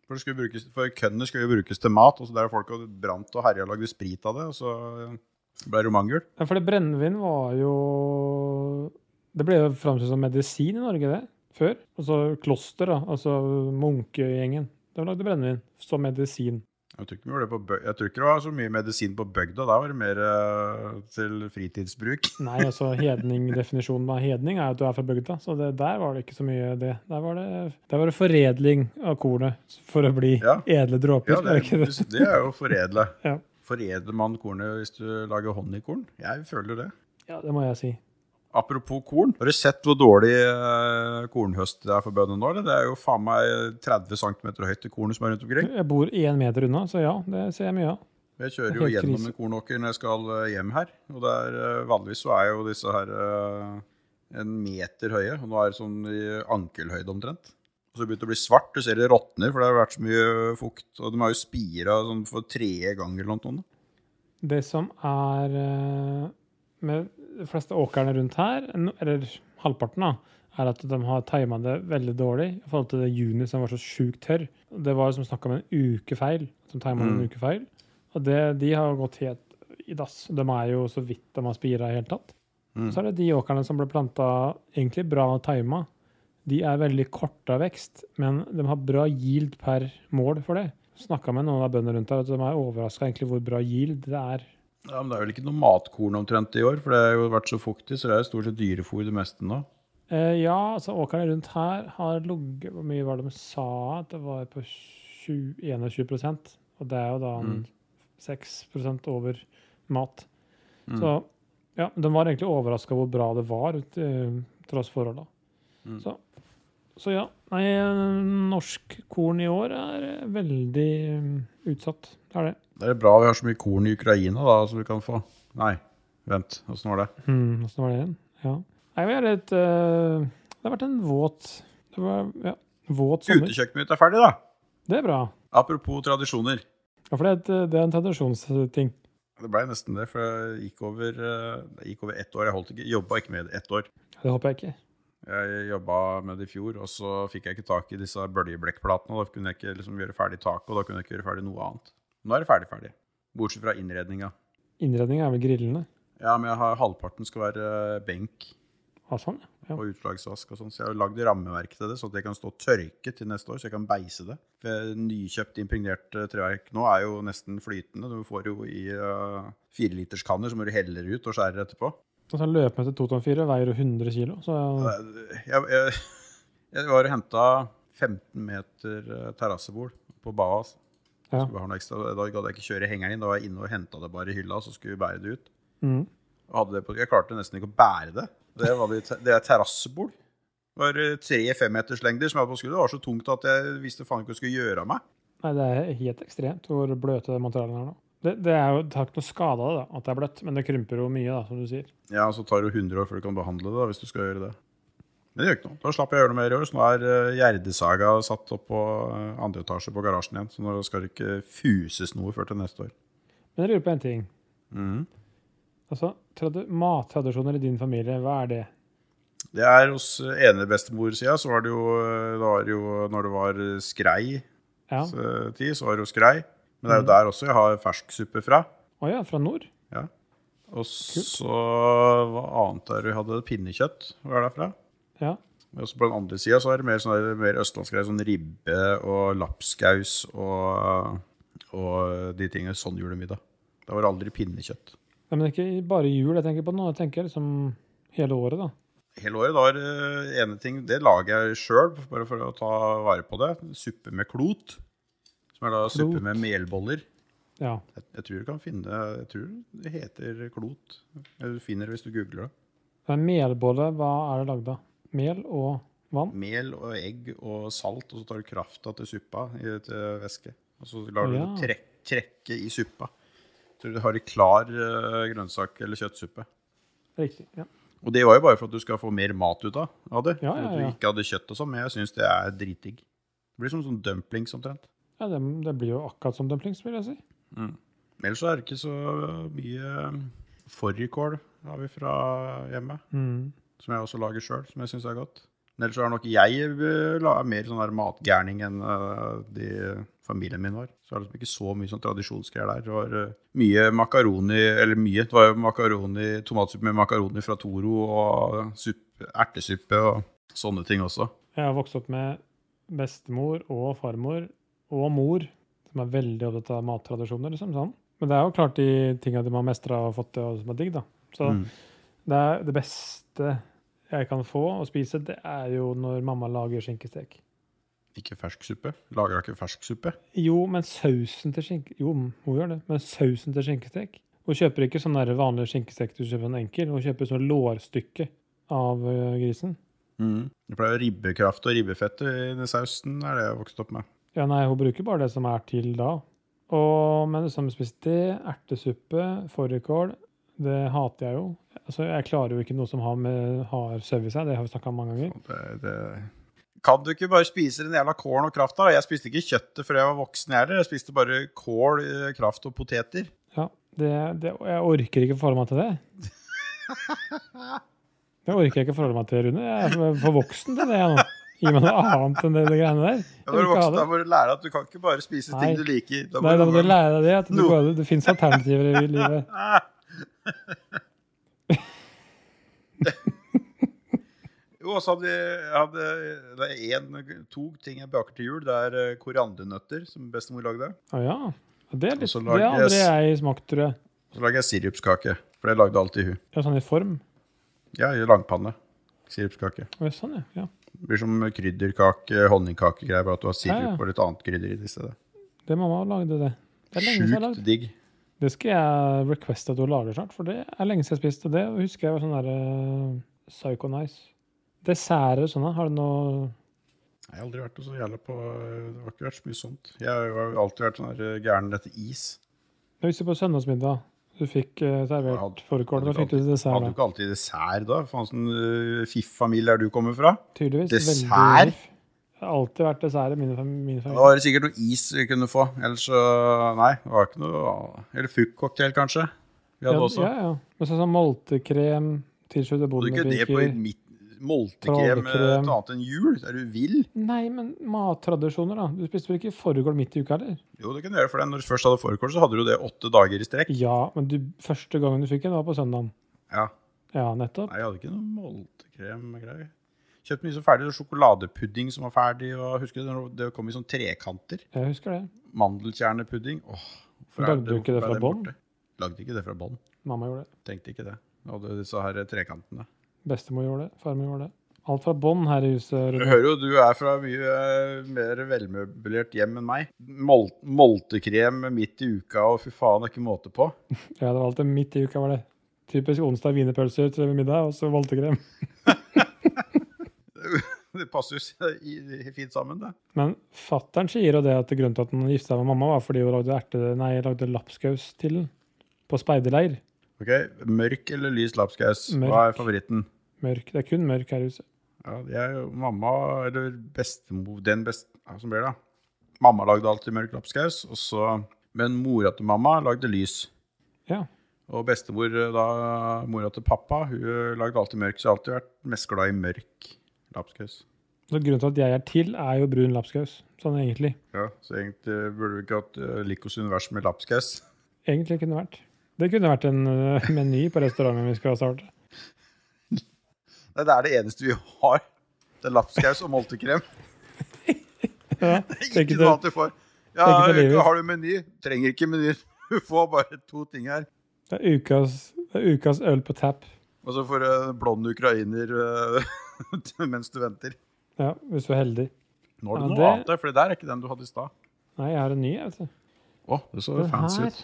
S1: For, det skulle brukes, for kønner skulle jo brukes til mat, og så der folk hadde brant og herja og lagde sprit av det, og så ble det romangul.
S2: Ja, fordi brennevin var jo Det ble jo framstilt som medisin i Norge, det. Før. Altså kloster, da. Altså munkegjengen. De lagde brennevin som medisin.
S1: Jeg tror, ikke vi gjorde det på bø- jeg tror ikke det var så mye medisin på bygda. Da var det mer eh, til fritidsbruk.
S2: Nei, altså hedning, definisjonen av hedning er at du er fra bygda, så det, der var det ikke så mye det. Der var det, der var det foredling av kornet for å bli
S1: Ja.
S2: edle dråper.
S1: Ja,
S2: er
S1: det,
S2: det ikke det?
S1: det er jo foredle.
S2: Ja.
S1: Foredler man kornet hvis du lager honningkorn? Jeg føler det.
S2: ja, det må jeg si.
S1: Apropos korn, har du sett hvor dårlig eh, kornhøst det er for bøndene nå? eller? Det er jo faen meg 30 cm høyt i kornet som er rundt omkring.
S2: Jeg bor én meter unna, så ja, det ser jeg mye av.
S1: Jeg kjører
S2: Det er
S1: jo
S2: helt
S1: gjennom
S2: krise.
S1: en kornåker når jeg skal eh, hjem her. Og det er, eh, vanligvis så er jo disse her eh, en meter høye, og nå er det sånn i ankelhøyde omtrent. Og så begynte det å bli svart, du ser det råtner, for det har vært så mye fukt. Og de har jo spira sånn for tredje gang eller noe. sånt.
S2: Det som er eh, med de fleste åkrene rundt her, no- eller halvparten, da, er at de har tima det veldig dårlig i forhold til det juni som var så sjukt tørr. Det var som snakk om en uke feil. at De timet
S1: Mm.
S2: en uke feil. Og det, de har gått helt i dass. De er jo så vidt de har spira i hele tatt.
S1: Mm.
S2: Så er det de åkrene som ble planta egentlig bra tima. De er veldig korte av vekst, men de har bra yield per mål for det. Snakka med noen av bøndene rundt her, at de er overraska egentlig hvor bra yield det er
S1: Ja, men det er vel ikke noe matkorn omtrent i år, for det har jo vært så fuktig, så det er jo stort sett dyrefôr det meste nå.
S2: Eh, ja, altså åkrene rundt her har ligget Hvor mye var det de sa? at Det var på 20, 21 Og det er jo da en
S1: Mm.
S2: 6 over mat.
S1: Mm.
S2: Så ja, de var egentlig overraska hvor bra det var, ut, eh, tross forholda.
S1: Mm.
S2: Så, så ja. Nei, eh, norsk korn i år er eh, veldig eh, utsatt. Det er det.
S1: Det er bra vi har så mye korn i Ukraina, da, så vi kan få Nei, vent, åssen var det?
S2: Hmm, Åssen var det igjen? Ja. Nei, vi er litt eh, Det har vært en våt det var, ja, Våt sommer.
S1: Utekjøkkenet mitt er ferdig, da!
S2: Det er bra.
S1: Apropos tradisjoner.
S2: Ja, for det er, et, det er en tradisjonsting.
S1: Det blei nesten det, for jeg gikk over, eh, det gikk over ett år. Jeg holdt ikke, jobba ikke med det ett år.
S2: Det håper jeg ikke.
S1: Jeg jobba med det i fjor, og så fikk jeg ikke tak i disse bøljeblekkplatene. og Da kunne jeg ikke liksom gjøre ferdig taket, og da kunne jeg ikke gjøre ferdig noe annet. Nå er det ferdig ferdig. Bortsett fra innredninga.
S2: Innredningen er vel grillene?
S1: Ja, men jeg har, halvparten skal være eh, benk
S2: Ja, sånn. ja.
S1: og utslagsvask og sånn. Så jeg har lagd rammeverk til det, sånn at det kan stå og tørke til neste år, så jeg kan beise det. For Nykjøpt impregnert eh, treverk nå er jo nesten flytende. Du får jo i eh, fireliterskanner, så må du helle det ut og skjære etterpå.
S2: Og så løpemøte 2,4 veier jo 100 kilo, så ja,
S1: Jeg, jeg, jeg var og henta 15 meter eh, terrassebol på bada. altså.
S2: Ja.
S1: Skulle ha noe ekstra. Da gadd jeg ikke kjøre hengeren inn. Da var jeg inne og henta det bare i hylla, så skulle vi bære det ut.
S2: mm.
S1: Og hadde det på, jeg klarte nesten ikke å bære det. Det, var det, det er terrassebol. Det var eh, tre femmeterslengder som jeg hadde på skuddet. Det var så tungt at jeg visste faen ikke hva jeg skulle gjøre av meg.
S2: Nei, det er helt ekstremt hvor bløte de materialene er nå. Det, det er jo det har ikke noe skade av det, da, at det er bløtt, men det krymper jo mye, da, som du sier.
S1: Ja, og så tar det jo 100 år før du kan behandle det, da, hvis du skal gjøre det. Men det gjør ikke noe. Da slapp jeg å gjøre noe mer i år, så nå er eh, Gjerdesaga satt opp på eh, andre etasje på garasjen igjen. Så nå skal det ikke fuses noe før til neste år.
S2: Men jeg lurer på en ting.
S1: Mhm.
S2: Altså, trad mattradisjoner i din familie, hva er det?
S1: Det er hos eh, enebestemorsida, så var det jo, eh, da var det jo Når det var eh, skrei
S2: Ja.
S1: eh, tid, så var det jo skrei. Men det er jo der også jeg har fersksuppe fra.
S2: Å ja, fra nord?
S1: Og så hva annet er det vi hadde? Pinnekjøtt var det derfra.
S2: Ja.
S1: Men også på den andre sida så er det mer, sånn der, mer østlandsgreier. Sånn ribbe og lapskaus og, og de tingene. Sånn julemiddag. Da var det aldri pinnekjøtt.
S2: Nei, men ikke bare i jul jeg tenker på nå, jeg tenker liksom hele året, da.
S1: Hele året da var det eh, ene ting Det lager jeg sjøl, bare for å ta vare på det. Suppe med klot. Som er da
S2: Klot.
S1: suppe med melboller.
S2: Ja.
S1: Jeg, jeg tror du kan finne Jeg tror det heter klot. Eller Du finner det hvis du googler det.
S2: Men melbolle, hva er det lagd av? Mel og vann?
S1: Mel og egg og salt, og så tar du krafta til suppa i et eh, væske. Og så lar du
S2: Ja.
S1: det trek, trekke i suppa. Så du har en klar eh, grønnsak- eller kjøttsuppe.
S2: Riktig. ja.
S1: Og det var jo bare for at du skal få mer mat ut av, av det.
S2: Ja,
S1: for
S2: ja,
S1: at du
S2: ja.
S1: ikke hadde kjøtt og sånn, men jeg syns det er dritdigg. Det blir som sånn dumplings omtrent.
S2: Ja, det, det blir jo akkurat som dumplings, vil jeg si.
S1: Ellers så er det ikke så mye eh, fårikål har vi fra hjemme.
S2: Mm.
S1: som jeg også lager sjøl, som jeg syns er godt. Men ellers så er nok jeg eh, la- mer sånn der matgærning enn eh, de familien min var. Så det er liksom ikke så mye sånn tradisjonsgreier der. Det var eh, mye makaroni, eller mye, det var jo makaroni, tomatsuppe med makaroni fra Toro og suppe, ertesuppe og sånne ting også.
S2: Jeg har vokst opp med bestemor og farmor og mor Som er veldig opptatt av mattradisjoner. liksom sånn. Men det er jo klart de tinga de har mestra og fått til, og som er digg. da. Så
S1: Mm.
S2: det, er det beste jeg kan få å spise, det er jo når mamma lager skinkestek.
S1: Ikke fersk suppe? Lager ikke fersk suppe?
S2: Jo, men sausen til skinke... Jo, hun gjør det. Men sausen til skinkestek Hun kjøper ikke sånn der vanlig skinkestek du kjøper en enkel. Hun kjøper sånn lårstykke av ø, grisen.
S1: Det pleier å ribbekraft og ribbefett i den sausen, er det jeg har vokst opp med.
S2: Ja, nei, hun bruker bare det som er til da. Og, men det samme spiste det, ertesuppe, fårikål, det hater jeg jo. Altså, jeg klarer jo ikke noe som har, med, har sau i seg, det har vi snakka om mange ganger.
S1: Og Det, det... Kan du ikke bare spise den jævla kålen og krafta? da? Jeg spiste ikke kjøttet før jeg var voksen, jeg heller. Jeg spiste bare kål, eh, kraft og poteter.
S2: Ja, det, det, og jeg orker ikke forholde meg til det. Det orker jeg ikke forholde meg til, Rune. Jeg er for voksen til det. jeg nå. Gi meg noe annet enn det, det greiene der.
S1: Da må du
S2: Jeg vil ikke ha
S1: voksen, da
S2: det.
S1: må du lære at du kan ikke bare spise
S2: Nei.
S1: ting du liker. Da må
S2: Nei, da
S1: du
S2: må du lære deg det, at det,
S1: Nå.
S2: går, det fins alternativer i livet.
S1: Jo, og så hadde jeg hadde, det er en, to ting jeg baker til jul. Det er eh, koriandernøtter, som bestemor lagde.
S2: Å ja. Det, er litt,
S1: Og så
S2: det har
S1: lages-
S2: aldri jeg smakt, tror jeg.
S1: Så lager jeg sirupskake, for det lagde alltid hun.
S2: Ja, sånn i form.
S1: Ja, i langpanne. Sirupskake.
S2: Å, ja, sånn, ja. ja.
S1: Det blir som krydderkake, honningkakegreier, bare at du har sirup
S2: Ja, ja.
S1: og litt annet krydder i det i stedet.
S2: Det mamma lagde det. Det er lenge siden jeg har
S1: Sjukt
S2: lagd.
S1: digg.
S2: Det skal jeg requeste at du lager snart, for det er lenge siden jeg spiste det. Og husker jeg var sånn der eh, psycho nice. Desserter og sånne, har du noe
S1: Jeg har aldri vært noe så jævla på Det har ikke vært så mye sånt. Jeg har jo alltid vært sånn her gæren etter is.
S2: Jeg husker på søndagsmiddag. Du fikk eh,
S1: Jeg hadde-
S2: servert fårikål.
S1: hadde
S2: Da fikk du
S1: Hadde du
S2: dessert. da.
S1: ikke alltid dessert da? Faen sånn uh, fiff-familie er du kommer fra.
S2: Tydeligvis. veldig
S1: Dessert?
S2: riff. Det har alltid vært dessert i mine fam- min
S1: Da
S2: familie.
S1: var det sikkert noe is vi kunne få. Ellers så Nei, det var ikke noe Eller fuck-cocktail, kanskje. Vi hadde
S2: Ja,
S1: også.
S2: ja, ja. Men sånn som moltekrem, tilskjøtte
S1: Hadde du ikke det på
S2: bondebriker
S1: mitt moltekrem eh, til
S2: Trollekrem.
S1: annet enn jul? Er du vill?
S2: Nei, men mattradisjoner, da. Du spiste vel ikke fårikål midt i uka, heller?
S1: Jo, det kan du gjøre, for når du først hadde fårikål, så hadde du det åtte dager i strekk.
S2: Ja, men du, første gangen du fikk en, var på søndagen.
S1: Ja.
S2: Ja, nettopp.
S1: Nei, jeg hadde ikke noe moltekrem-greier. Kjøpte mye som ferdig, og sjokoladepudding som var ferdig, og husker du, det kom i sånne trekanter.
S2: Jeg husker det.
S1: Mandelkjernepudding. Åh, hvorfor er
S2: Lagde du
S1: hvorfor
S2: ikke det
S1: er
S2: fra
S1: den
S2: bånn?
S1: borte? Lagde ikke det fra bånn.
S2: Mamma gjorde det.
S1: Tenkte ikke det. Jeg hadde disse her trekantene.
S2: Bestemor gjorde det. Farmor gjorde det. Alt fra bånn her i huset.
S1: Du
S2: Rune.
S1: hører jo, du er fra mye eh, mer velmøblert hjem enn meg. Mol moltekrem midt i uka, og fy faen, det er ikke måte på.
S2: Ja, det var alltid midt i uka, var det. Typisk onsdag wienerpølser til middag, og så voltekrem.
S1: Det passer jo så i- i- fint sammen, det.
S2: Men fattern sier jo det at grunnen til at han gifta seg med mamma, var fordi hun lagde, erte, nei, lagde lapskaus til den på speiderleir.
S1: Ok, mørk eller lys lapskaus? Hva
S2: Mørk.
S1: er favoritten?
S2: Mørk. Det er kun mørk her i huset.
S1: Ja, det er jo mamma, eller bestemor, den best... Ja, som blir det da. Mamma lagde alltid mørk lapskaus, og så... Men mora til mamma lagde lys.
S2: Ja.
S1: Og bestemor, eh, da, mora til pappa, hun eh, lagde alltid mørk, så jeg har alltid vært mest glad i mørk lapskaus.
S2: Så grunnen til at jeg er til, er jo brun lapskaus. Sånn egentlig.
S1: Ja, så egentlig burde vi ikke hatt eh, Likos univers med lapskaus.
S2: Egentlig kunne det vært. Det kunne vært en øh, meny på restauranten vi skal starte.
S1: Nei, det er det eneste vi har. Det er lapskaus og moltekrem.
S2: Ja, tenk
S1: Ikke
S2: til,
S1: noe annet du får. Ja,
S2: take it or leave it.
S1: har du meny? Trenger ikke meny. Du får bare to ting her.
S2: det, er ukas, det er ukas øl på tap.
S1: Og så får du en blond ukrainer eh, mens du venter.
S2: Ja, hvis du er heldig.
S1: Nå har
S2: Ja,
S1: du noe
S2: det-
S1: annet, der, for det der er ikke den du hadde i stad.
S2: Nei, jeg har en ny, jeg, vet du.
S1: Å, det så
S2: Den
S1: fancy
S2: her
S1: ut.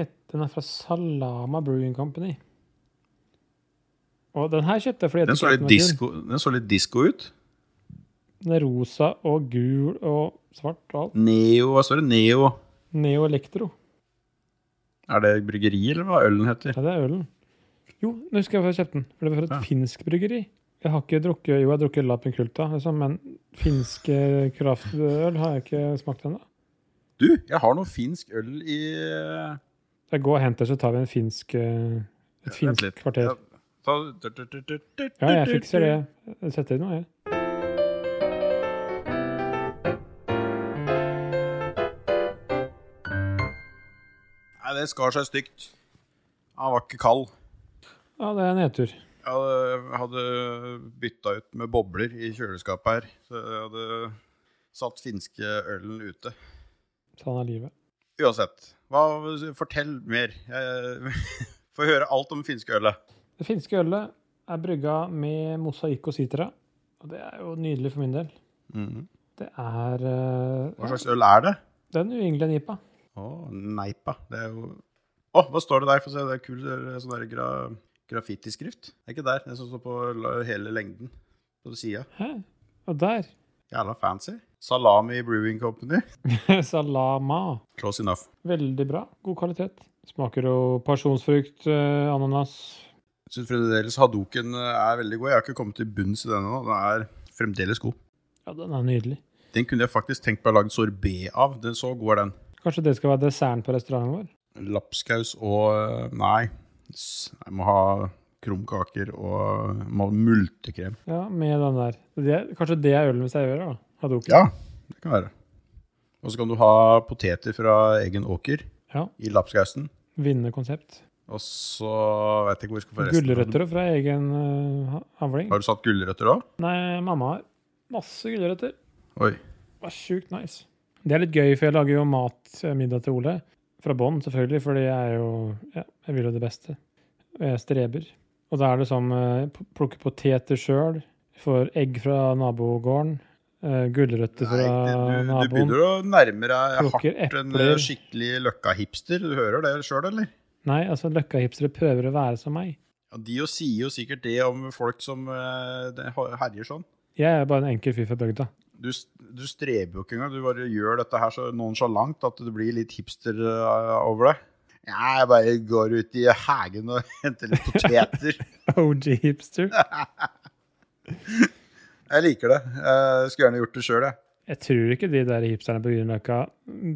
S2: het, den er fra Salama Brewing Company. Og den her kjøpte jeg fordi
S1: Den så, litt
S2: etiketten var kul.
S1: disco, den så litt disco ut.
S2: Den er rosa og gul og svart og alt.
S1: Neo, hva står det? Neo.
S2: Neo Electro.
S1: Er det bryggeri, eller hva ølen heter?
S2: Ja, det er ølen. Jo, nå husker jeg hvorfor jeg kjøpte den. For det var fra et
S1: Ja.
S2: finsk bryggeri. Jeg har ikke drukket, jo, jeg har drukket Lapinkulta, liksom, men finsk eh, kraftøl har jeg ikke smakt ennå.
S1: Du, jeg har noe finsk øl i eh,
S2: Jeg går og henter, så tar vi en finsk, eh, et
S1: Vent
S2: finsk
S1: litt.
S2: kvarter.
S1: Ja, ta- tut, tut, tut, tut, tut,
S2: Ja, jeg
S1: tut, tut.
S2: fikser det. Jeg setter inn noe, jeg.
S1: Nei, det skar seg stygt. Han var ikke kald.
S2: Ja, det er nedtur.
S1: Jeg hadde- hadde bytta ut med bobler i kjøleskapet her. Så jeg hadde satt finske ølen ute.
S2: Sånn er livet.
S1: Uansett, hva, fortell mer. Jeg får høre alt om finske ølet.
S2: Det finske ølet er brygga med mosaikk og sitra. Og det er jo nydelig for min del.
S1: Mhm.
S2: Det er eh,
S1: Hva slags øl er det?
S2: Det er en New England IPA.
S1: Å, neipa. Det er jo Å, hva står det der? Få se, det er kul eh, sånn der gra... graffitiskrift. Det er ikke der, det er sånn som står på la- hele lengden på sida.
S2: Hæ? Og der
S1: Jævla fancy. Salami Brewing Company.
S2: Salama.
S1: Close enough.
S2: Veldig bra. God kvalitet. Smaker jo pasjonsfrukt, eh, ananas
S1: Jeg syns fremdeles Hadoken eh, er veldig god. Jeg har ikke kommet til bunns i den ennå. Den er fremdeles god.
S2: Ja, den er nydelig.
S1: Den kunne jeg faktisk tenkt meg å lage sorbé av. Den så god er den.
S2: Kanskje det skal være desserten på restauranten vår?
S1: Lapskaus og eh, Nei. S- Jeg må ha krumkaker og må ha multekrem.
S2: Ja, med den der. Det, er- kanskje det er ølen vi serverer, da. Hadoken.
S1: Ja, det kan være. Og så kan du ha poteter fra egen åker
S2: Ja.
S1: i lapskausen.
S2: Vinnende konsept.
S1: Og så vet jeg ikke hvor jeg skal få resten.
S2: Gulrøtter fra egen eh, ha- havling.
S1: Har du satt gulrøtter òg?
S2: Nei, mamma har masse gulrøtter.
S1: Oi.
S2: Det var sjukt nice. Det er litt gøy, for jeg lager jo matmiddag til Ole. Fra bånn, selvfølgelig, fordi jeg er jo ja, Jeg vil jo det beste. Og jeg streber. Og da er det som eh, p- plukke poteter sjøl, får egg fra nabogården, eh, gulrøtter
S1: Nei,
S2: fra
S1: det- du, du
S2: naboen
S1: begynner å nærme deg
S2: Plukker
S1: hardt en
S2: epler.
S1: eh, skikkelig løkka-hipster. Du hører det sjøl, eller?
S2: Nei, altså, løkkahipstere prøver å være som meg.
S1: Ja, de jo sier jo sikkert det om folk som eh, det har- herjer sånn.
S2: Jeg er bare en enkel fyr fra bygda.
S1: Du, s- du streber jo ikke engang. Du bare gjør dette her så nonsjalant at det blir litt hipster eh, over det. Ja, jeg bare går ut i hagen og henter litt poteter.
S2: OG-hipster.
S1: Jeg liker det. Eh, skulle gjerne gjort det sjøl, jeg.
S2: Jeg tror ikke de der hipsterne på Grünerløkka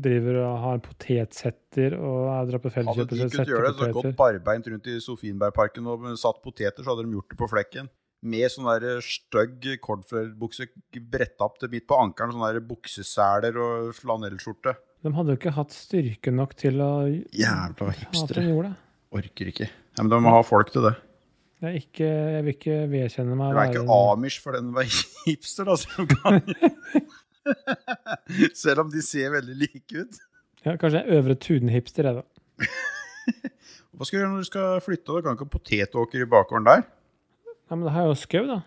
S2: driver og har potetsetter og er- drar på
S1: Hadde
S2: felleskjøp
S1: de
S2: og
S1: kunnet
S2: setter
S1: gjøre det, så gått
S2: poteter.
S1: barbeint rundt i Sofienbergparken og satt poteter, så hadde de gjort det på flekken. Med sånn der stygg cordflairbukse bretta opp til midt på ankelen, sånne der bukseseler og flanellskjorte.
S2: De hadde jo ikke hatt styrke nok til å
S1: Jævla
S2: Hater den
S1: hipstere.
S2: jorda.
S1: Orker ikke. Ja, men de må ha folk til det.
S2: Jeg, er ikke, jeg vil ikke vedkjenne meg
S1: Du
S2: å
S1: er ikke
S2: være-
S1: amish for den å være hipster, da. Som kan. Selv om de ser veldig like ut.
S2: ja, Kanskje jeg er øvre Tuden-hipster, jeg, da.
S1: Hva skal du gjøre når du skal flytte? Du kan ikke ha potetåker i bakgården der.
S2: Nei, men det her er jo skau, da.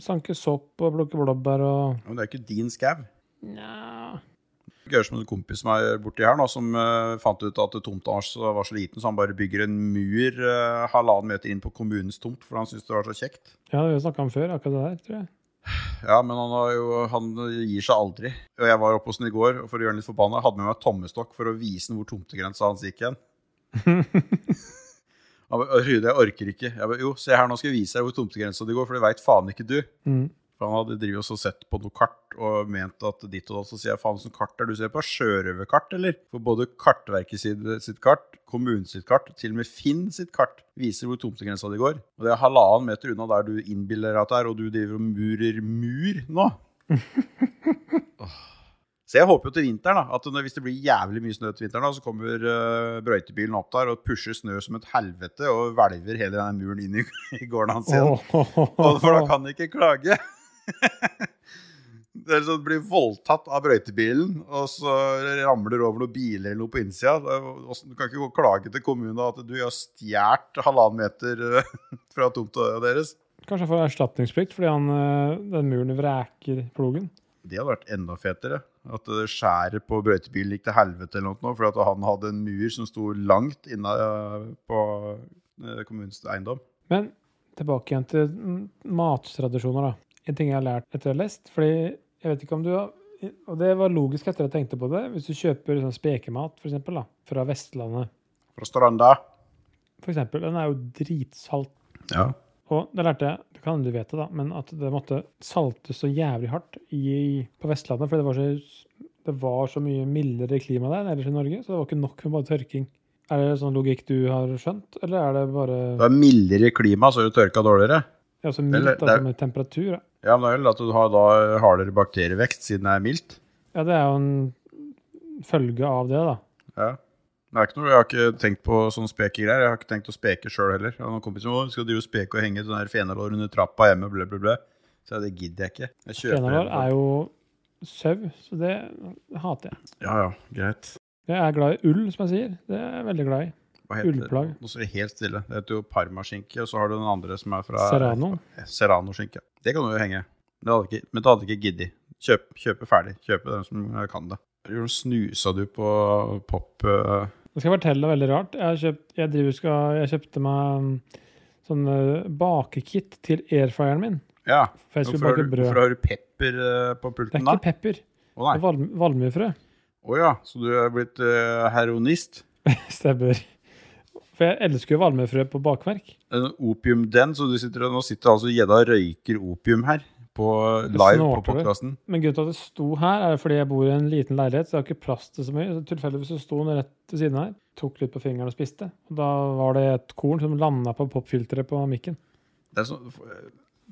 S2: Sanke sopp og plukke blåbær og
S1: Ja, Men det er ikke din skau.
S2: Nja
S1: Det er som en kompis som er borti her, nå, som eh, fant ut at tomta hans var så liten, så han bare bygger en mur eh, halvannen meter inn på kommunens tomt, for han syntes det var så kjekt.
S2: Ja, det har vi snakka om før, akkurat det der, tror jeg.
S1: Ja, men han, har jo, han gir seg aldri. Og jeg var oppe hos han i går, og for å gjøre han litt forbanna, hadde med meg tommestokk for å vise han hvor tomtegrensa hans gikk hen. Han bare, Rune, jeg orker ikke. Jeg bare, jo, se her, nå skal jeg vise deg hvor tomtegrensa di går, for det veit faen ikke du.
S2: Mm.
S1: For han hadde drivet og sett på noe kart og ment at ditt og datt. Så sier jeg faen, hvilket kart er det du ser på? Sjørøverkart, eller? For både Kartverket sitt, sitt kart, kommunen sitt kart, til og med Finn sitt kart viser hvor tomtegrensa di går. Og det er halvannen meter unna der du innbiller deg at det er, og du driver og murer mur nå. Åh. Så jeg håper jo til vinteren da, at når- hvis det blir jævlig mye snø til vinteren, da, så kommer eh, brøytebilen opp der og pusher snø som et helvete og hvelver hele den muren inn i, i gården hans igjen. Og for da kan de ikke klage. Det er sånn, Blir voldtatt av brøytebilen, og så ramler det over noen biler eller noe på innsida. Det er jo- åssen- Du kan ikke gå og klage til kommunen at du har stjålet halvannen meter eh, fra tomta deres.
S2: Kanskje jeg får erstatningsplikt fordi han, eh, den muren vræker plogen.
S1: Det hadde vært enda fetere. At det skjæret på brøytebilen gikk til helvete eller noe, fordi at han hadde en mur som sto langt inne eh, på eh, kommunens eiendom.
S2: Men tilbake igjen til mm, mattradisjoner, da. En ting jeg har lært etter å ha lest, fordi jeg vet ikke om du har Og det var logisk etter at jeg tenkte på det. Hvis du kjøper sånn spekemat, for eksempel, da, fra Vestlandet,
S1: Fra Stranda.
S2: for eksempel, den er jo dritsalt.
S1: Ja.
S2: Og det lærte jeg, det kan du vite, da, men at det måtte saltes så jævlig hardt i, på Vestlandet, fordi det var så, det var så mye mildere klima der enn ellers i Norge, så det var ikke nok med bare tørking. Er det sånn logikk du har skjønt, eller er det bare
S1: Det er mildere klima, så er det tørka dårligere.
S2: ja, så
S1: eller-
S2: mildt,
S1: det er-
S2: altså med temperatur? Da.
S1: Ja, men det er vel at du har da eh, hardere bakterievekst siden det er mildt.
S2: Ja, det er jo en følge av det, da.
S1: Ja. Det er ikke noe, Jeg har ikke tenkt på sånne spekegreier. Jeg har ikke tenkt å speke sjøl heller. Jeg har noen kompiser som «Å, skal drive og speke og henge sånne her fenalår under trappa hjemme. Ble, ble, ble. Så jeg, det gidder jeg ikke. Jeg kjøper
S2: Fenalår
S1: en for-
S2: er jo sau, så det hater jeg.
S1: sånn- Ja ja, greit.
S2: Jeg er glad i ull, som jeg sier. Det er jeg veldig glad i.
S1: Hva heter
S2: Ullplagg.
S1: det? Nå står det helt stille. Det heter jo parmaskinke, og så har du den andre som er fra Eh,
S2: Serrano.
S1: Serrano-skinke. Det kan du jo henge. Men det hadde ikke, men det hadde ikke giddet. Kjøp, kjøpe ferdig. Kjøpe den som kan det. Hvordan snusa du på pop... eh,
S2: Nå skal jeg fortelle deg veldig rart. Jeg, har kjøpt, jeg, driver, skal, jeg kjøpte meg mm, sånn eh, bakekit til airfryeren min.
S1: Ja.
S2: For jeg skulle
S1: Hvorfor har,
S2: bake
S1: du,
S2: brød.
S1: hvorfor har du pepper eh, på
S2: Det er
S1: pulten da?
S2: ikke pepper.
S1: Å
S2: Det
S1: nei.
S2: er val, valmuefrø.
S1: Å ja, så du er blitt eh, heroinist?
S2: Stemmer. For jeg elsker jo valmuefrø på bakverk.
S1: En opium den, så du sitter, nå sitter altså gjedda og røyker opium her. På live på
S2: snorter det.
S1: podkasten.
S2: Men grunnen til at det sto her, er jo fordi jeg bor i en liten leilighet, så jeg har ikke plass til så mye. Så Tilfeldigvis så sto den rett ved siden av her. Tok litt på fingeren og spiste. Og da var det et korn som landa på popfilteret på mikken.
S1: Det er sånn-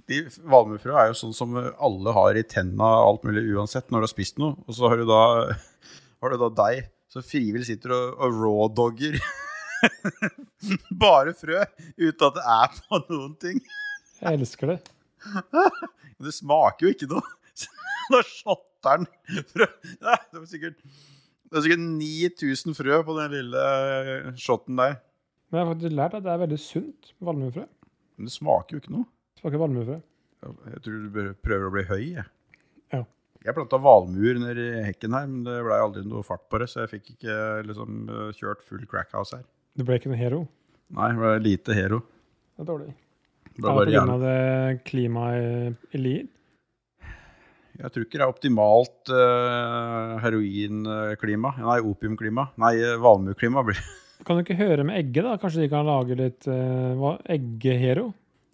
S1: de Valmuefrø er jo sånn som alle har i tenna og alt mulig uansett når du har spist noe. Og så har du da, har du da deg som frivillig sitter og, og rawdogger bare frø uten at det er på noen ting.
S2: Jeg elsker det.
S1: Men det smaker jo ikke noe. Så Da shotter den frø. Ja, Det var sikkert det er sikkert 9000 frø på den lille eh, shotten der.
S2: Men jeg har faktisk lært at det er veldig sunt med valmuefrø.
S1: Men det smaker jo ikke noe.
S2: Smaker valmuefrø.
S1: Jeg tror du bør- prøver å bli høy, jeg.
S2: Ja.
S1: Jeg planta valmuer nedi hekken her, men det blei aldri noe fart på det, så jeg fikk ikke liksom, kjørt full crackhouse her.
S2: Det ble ikke noe hero.
S1: Nei, det var lite hero.
S2: Det er dårlig.
S1: Det
S2: Det
S1: var
S2: er det
S1: bare
S2: på grunn
S1: jævlig.
S2: av det klimaet i Lier?
S1: Jeg tror ikke det er optimalt eh, heroinklima. Nei, opiumklima. Nei, eh, valmueklima. blir-
S2: Kan du ikke høre med Egge, da? Kanskje de kan lage litt eh, hva- eggehero?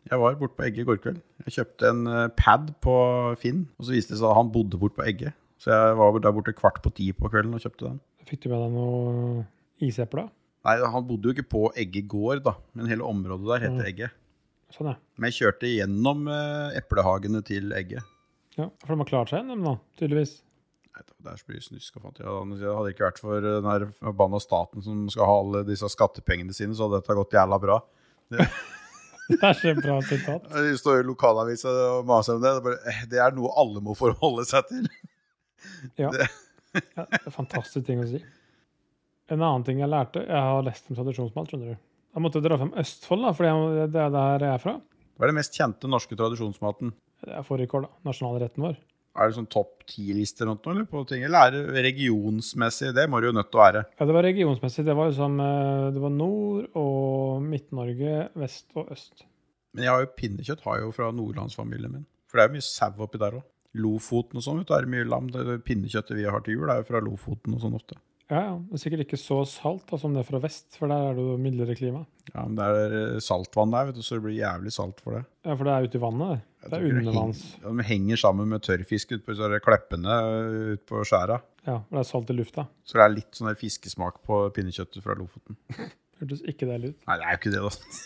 S1: Jeg var borte på Egge i går kveld. Jeg kjøpte en eh, pad på Finn, og så viste det seg at han bodde borte på Egge. Så jeg var der borte kvart på ti på kvelden og kjøpte den.
S2: Fikk du med deg noe isepler? da?
S1: Nei, han bodde jo ikke på Egge gård, da, men hele området der heter Egge.
S2: Sånn, ja.
S1: Men jeg kjørte gjennom eh, eplehagene til Egge.
S2: ja. For de har klart seg gjennom, da, tydeligvis.
S1: Nei, det der blir snusk og fattig. Det hadde ikke vært for eh, den her forbanna staten som skal ha alle disse skattepengene sine, så hadde dette gått jævla bra.
S2: Det er så bra sitat.
S1: De står i lokalavisa og maser om det. Det er, bare, eh, det er noe alle må forholde seg til.
S2: Ja. ja det er fantastisk ting å si. En annen ting jeg lærte Jeg har lest om tradisjonsmat, skjønner du. Jeg måtte dra fram Østfold, da, for det er der jeg er fra.
S1: Hva er den mest kjente norske tradisjonsmaten?
S2: Det er fårikål, da. Nasjonalretten vår.
S1: Er det sånn topp ti-lister eller noe, eller på ting? Eller er det regionsmessig? Det må det jo nødt til å være.
S2: Ja, det var regionsmessig. Det var liksom eh, Det var Nord- og Midt-Norge, vest og øst.
S1: Men jeg har jo pinnekjøtt har jeg jo fra nordlandsfamilien min. For det er jo mye sau oppi der òg. Lofoten og sånn, vet du. Er det mye lam? Det det pinnekjøttet vi har til jul, er jo fra Lofoten og sånn ofte.
S2: Ja, ja. Det er sikkert ikke så salt da, som det er fra vest, for der er det jo mildere klima.
S1: Ja, men det er eh, saltvann der, vet du, så det blir jævlig salt for det.
S2: Ja, for det er ute i vannet, det.
S1: Jeg
S2: Det er
S1: tror ikke
S2: undervanns.
S1: henger- Ja, de henger sammen med tørrfisk ute på disse der kleppene eh, ute på skjæra.
S2: Ja, for det er salt i lufta.
S1: Så det er litt sånn der fiskesmak på pinnekjøttet fra Lofoten.
S2: Hørtes ikke deilig ut.
S1: Nei, det er jo ikke det, da.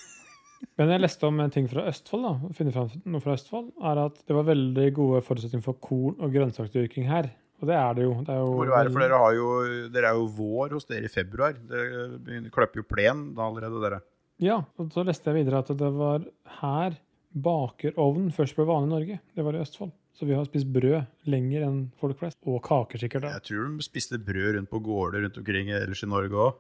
S2: Men jeg leste om en ting fra Østfold, da. Å finne fram noe fra Østfold, er at det var veldig gode forutsetninger for korn- og grønnsaksdyrking her. Og det er det jo. Det er jo
S1: Hvor er det, for
S2: veldig-
S1: dere, har jo, dere er jo vår hos dere i februar. Dere begynner- kløpper jo plen da allerede, dere.
S2: Ja, og så leste jeg videre at det var her bakerovnen først ble vanlig i Norge. Det var i Østfold. Så vi har spist brød lenger enn folk flest. Og kaker, sikkert. da.
S1: Jeg tror de spiste brød rundt på gårder rundt omkring ellers i Norge òg.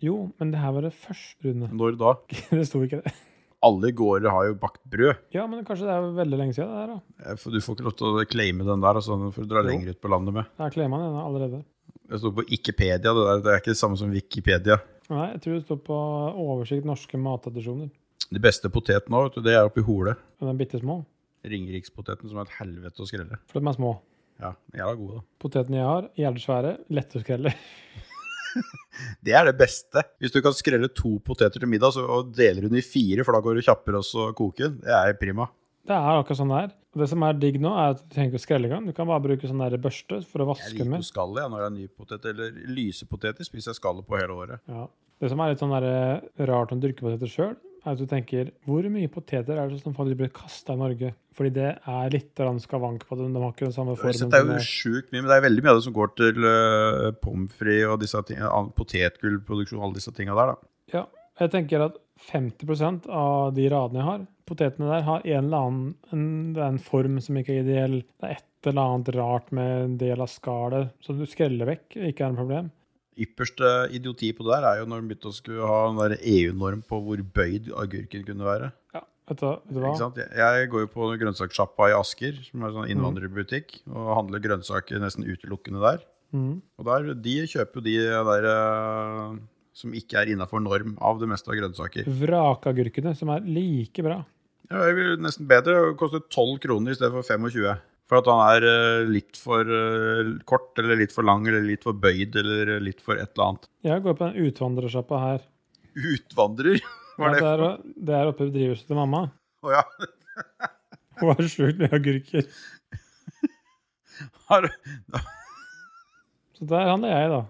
S2: Jo, men det her var det først, Rune.
S1: Når da?
S2: Det sto ikke det.
S1: Alle gårder har jo bakt brød.
S2: Ja, men kanskje det er veldig lenge siden det her, da.
S1: Eh, for Du får ikke lov til å claime den der altså, for å dra
S2: Jo.
S1: lenger ut på landet med.
S2: Der kler man henne allerede.
S1: Det står på Wikipedia, det der. Det er ikke det samme som Wikipedia.
S2: Nei, jeg tror det står på oversikt norske mattradisjoner.
S1: De beste potetene nå, vet du, det er oppi Hole.
S2: Men de er bitte små,
S1: Ringerikspoteten som er et helvete å skrelle.
S2: for de er små.
S1: Ja, jævla gode, da.
S2: Potetene jeg har, jævlig svære, lette å skrelle.
S1: Det er det beste. Hvis du kan skrelle to poteter til middag så, og deler den i fire, for da går det kjappere også å koke den, det er prima.
S2: Det er akkurat sånn det er. Og det som er digg nå, er at du trenger ikke å skrelle engang. Du kan bare bruke sånn der børste for å
S1: Jeg
S2: vaske
S1: liker
S2: med.
S1: jo skallet jeg, når det er ny potet. Eller lyse poteter spiser jeg skallet på hele året.
S2: Ja. Det som er litt sånn der, eh, rart om dyrkepoteter sjøl, er at du tenker hvor mye poteter er det som faktisk blir kasta i Norge? Fordi det er litt grann skavank på dem. De har ikke den samme
S1: Det
S2: formen.
S1: er
S2: som
S1: jo
S2: det-
S1: sjukt mye, men det er veldig mye av det som går øh, til uh, pommes frites og disse ting, an- potetgullproduksjon, alle disse tinga der, da.
S2: Ja, Jeg tenker at 50 av de radene jeg har, potetene der, har en eller annen en, Det er en form som ikke er ideell. Det er et eller annet rart med en del av skallet som du skreller vekk. Ikke er noe problem.
S1: Ypperste idioti på det der er jo når de begynte å skulle ha en der EU-norm på hvor bøyd agurken kunne være.
S2: Ja, vet du, vet du hva?
S1: Ikke sant? Jeg- Jeg går jo på grønnsakssjappa i Asker, som er en sånn innvandrerbutikk, og handler grønnsaker nesten utelukkende der.
S2: Mhm.
S1: Og der, de kjøper jo de der eh, som ikke er innafor norm av det meste av grønnsaker.
S2: Vrakagurkene, som er like bra.
S1: Ja, det vil nesten bedre. Det koster 12 kroner i stedet for 25. For at han er eh, litt for eh, kort, eller litt for lang, eller litt for bøyd, eller litt for et eller annet.
S2: Jeg går på den utvandrersjappa her.
S1: Utvandrer? Hva
S2: Ja,
S1: er
S2: det,
S1: det?
S2: er, det er oppe i drivhuset til mamma.
S1: Å ja.
S2: Hun har sjukt mye agurker.
S1: Har du-
S2: Så der handler jeg, da.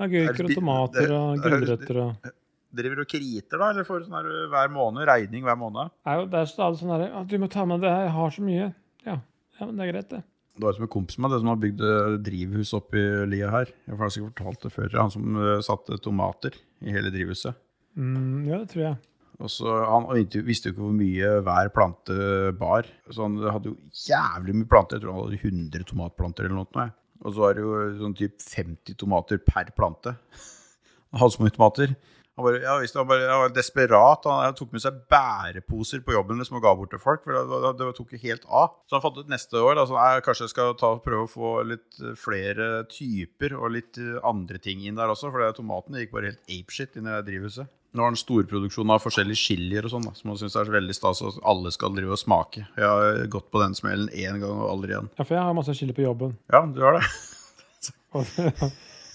S2: Agurker og
S1: bi-
S2: tomater
S1: det-
S2: og
S1: det høres
S2: gulrøtter og
S1: Driver du og kriter, da? Eller får du sånn her eh, hver måned? Regning hver måned?
S2: Nei, jo, Det er stadig sånn herre Du må ta med det her, jeg har så mye. Ja, ja men det er greit, det.
S1: Det var jo som en kompis med det som har bygd eh, drivhus oppi lia her. Jeg har sikkert fortalt det før. Han som eh, satte tomater i hele drivhuset.
S2: Mm, ja, det tror jeg.
S1: Og så Han inte- visste jo ikke hvor mye hver plante bar. Så han hadde jo jævlig mye planter. Jeg tror han hadde 100 tomatplanter eller noe. jeg. Og så var det jo sånn typ 50 tomater per plante. Han hadde så mye tomater. Han, bare, ja, visst, han, bare, han var desperat. Han, han tok med seg bæreposer på jobben liksom, og ga bort til folk. For det, det, det tok jo helt av. Så han fant ut neste år da, sånn, «Nei, kanskje jeg skal ta, prøve å få litt eh, flere typer og litt eh, andre ting inn der også. For det, tomatene gikk bare helt apeshit inn i det drivhuset. Nå har han storproduksjon av forskjellige chilier og sånn, da, som han syns er veldig stas. Og alle skal drive og smake. Jeg har eh, gått på den smellen én gang og aldri igjen.
S2: Ja, for jeg har masse chili på jobben.
S1: Ja, du har det.
S2: Og,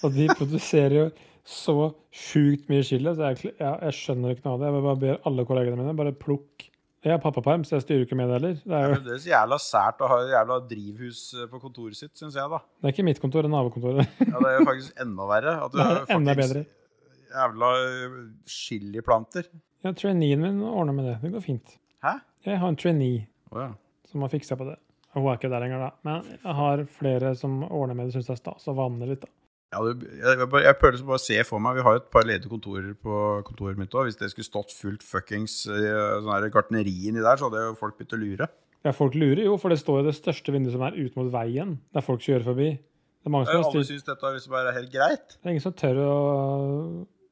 S2: og de produserer jo så sjukt mye chili, så jeg, jeg, jeg skjønner ikke noe av det. Jeg bare ber alle kollegene mine bare plukk. Jeg har pappaperm, så jeg styrer ikke med det heller. Det er jo
S1: Det er så jævla sært å ha et jævla drivhus eh, på kontoret sitt, syns jeg, da.
S2: det er ikke mitt kontor, det er nabokontoret.
S1: Ja, det er jo faktisk enda verre. At du
S2: Det
S1: har
S2: er enda
S1: fuckings
S2: bedre.
S1: Jævla ø, chiliplanter.
S2: Ja, traineen min ordner med det. Det går fint.
S1: Hæ?
S2: Jeg har en trainee.
S1: Å ja.
S2: som har fiksa på det. Og Hun er ikke der lenger, da. Men jeg har flere som ordner med det, syns det er stas og vanner litt, da.
S1: Ja, du, jeg, jeg, bare- jeg prøver liksom bare å se for meg Vi har jo et par ledige kontorer på kontoret mitt òg. Hvis det skulle stått fullt fuckings ø, sånn her gartneri inni der, så hadde jo folk begynt å lure.
S2: Ja, folk lurer jo, for det står jo det største vinduet som er ut mot veien, der folk kjører forbi. Det er mange som har
S1: Alle
S2: styrt.
S1: syns dette er liksom bare helt greit.
S2: Det er ingen som tør å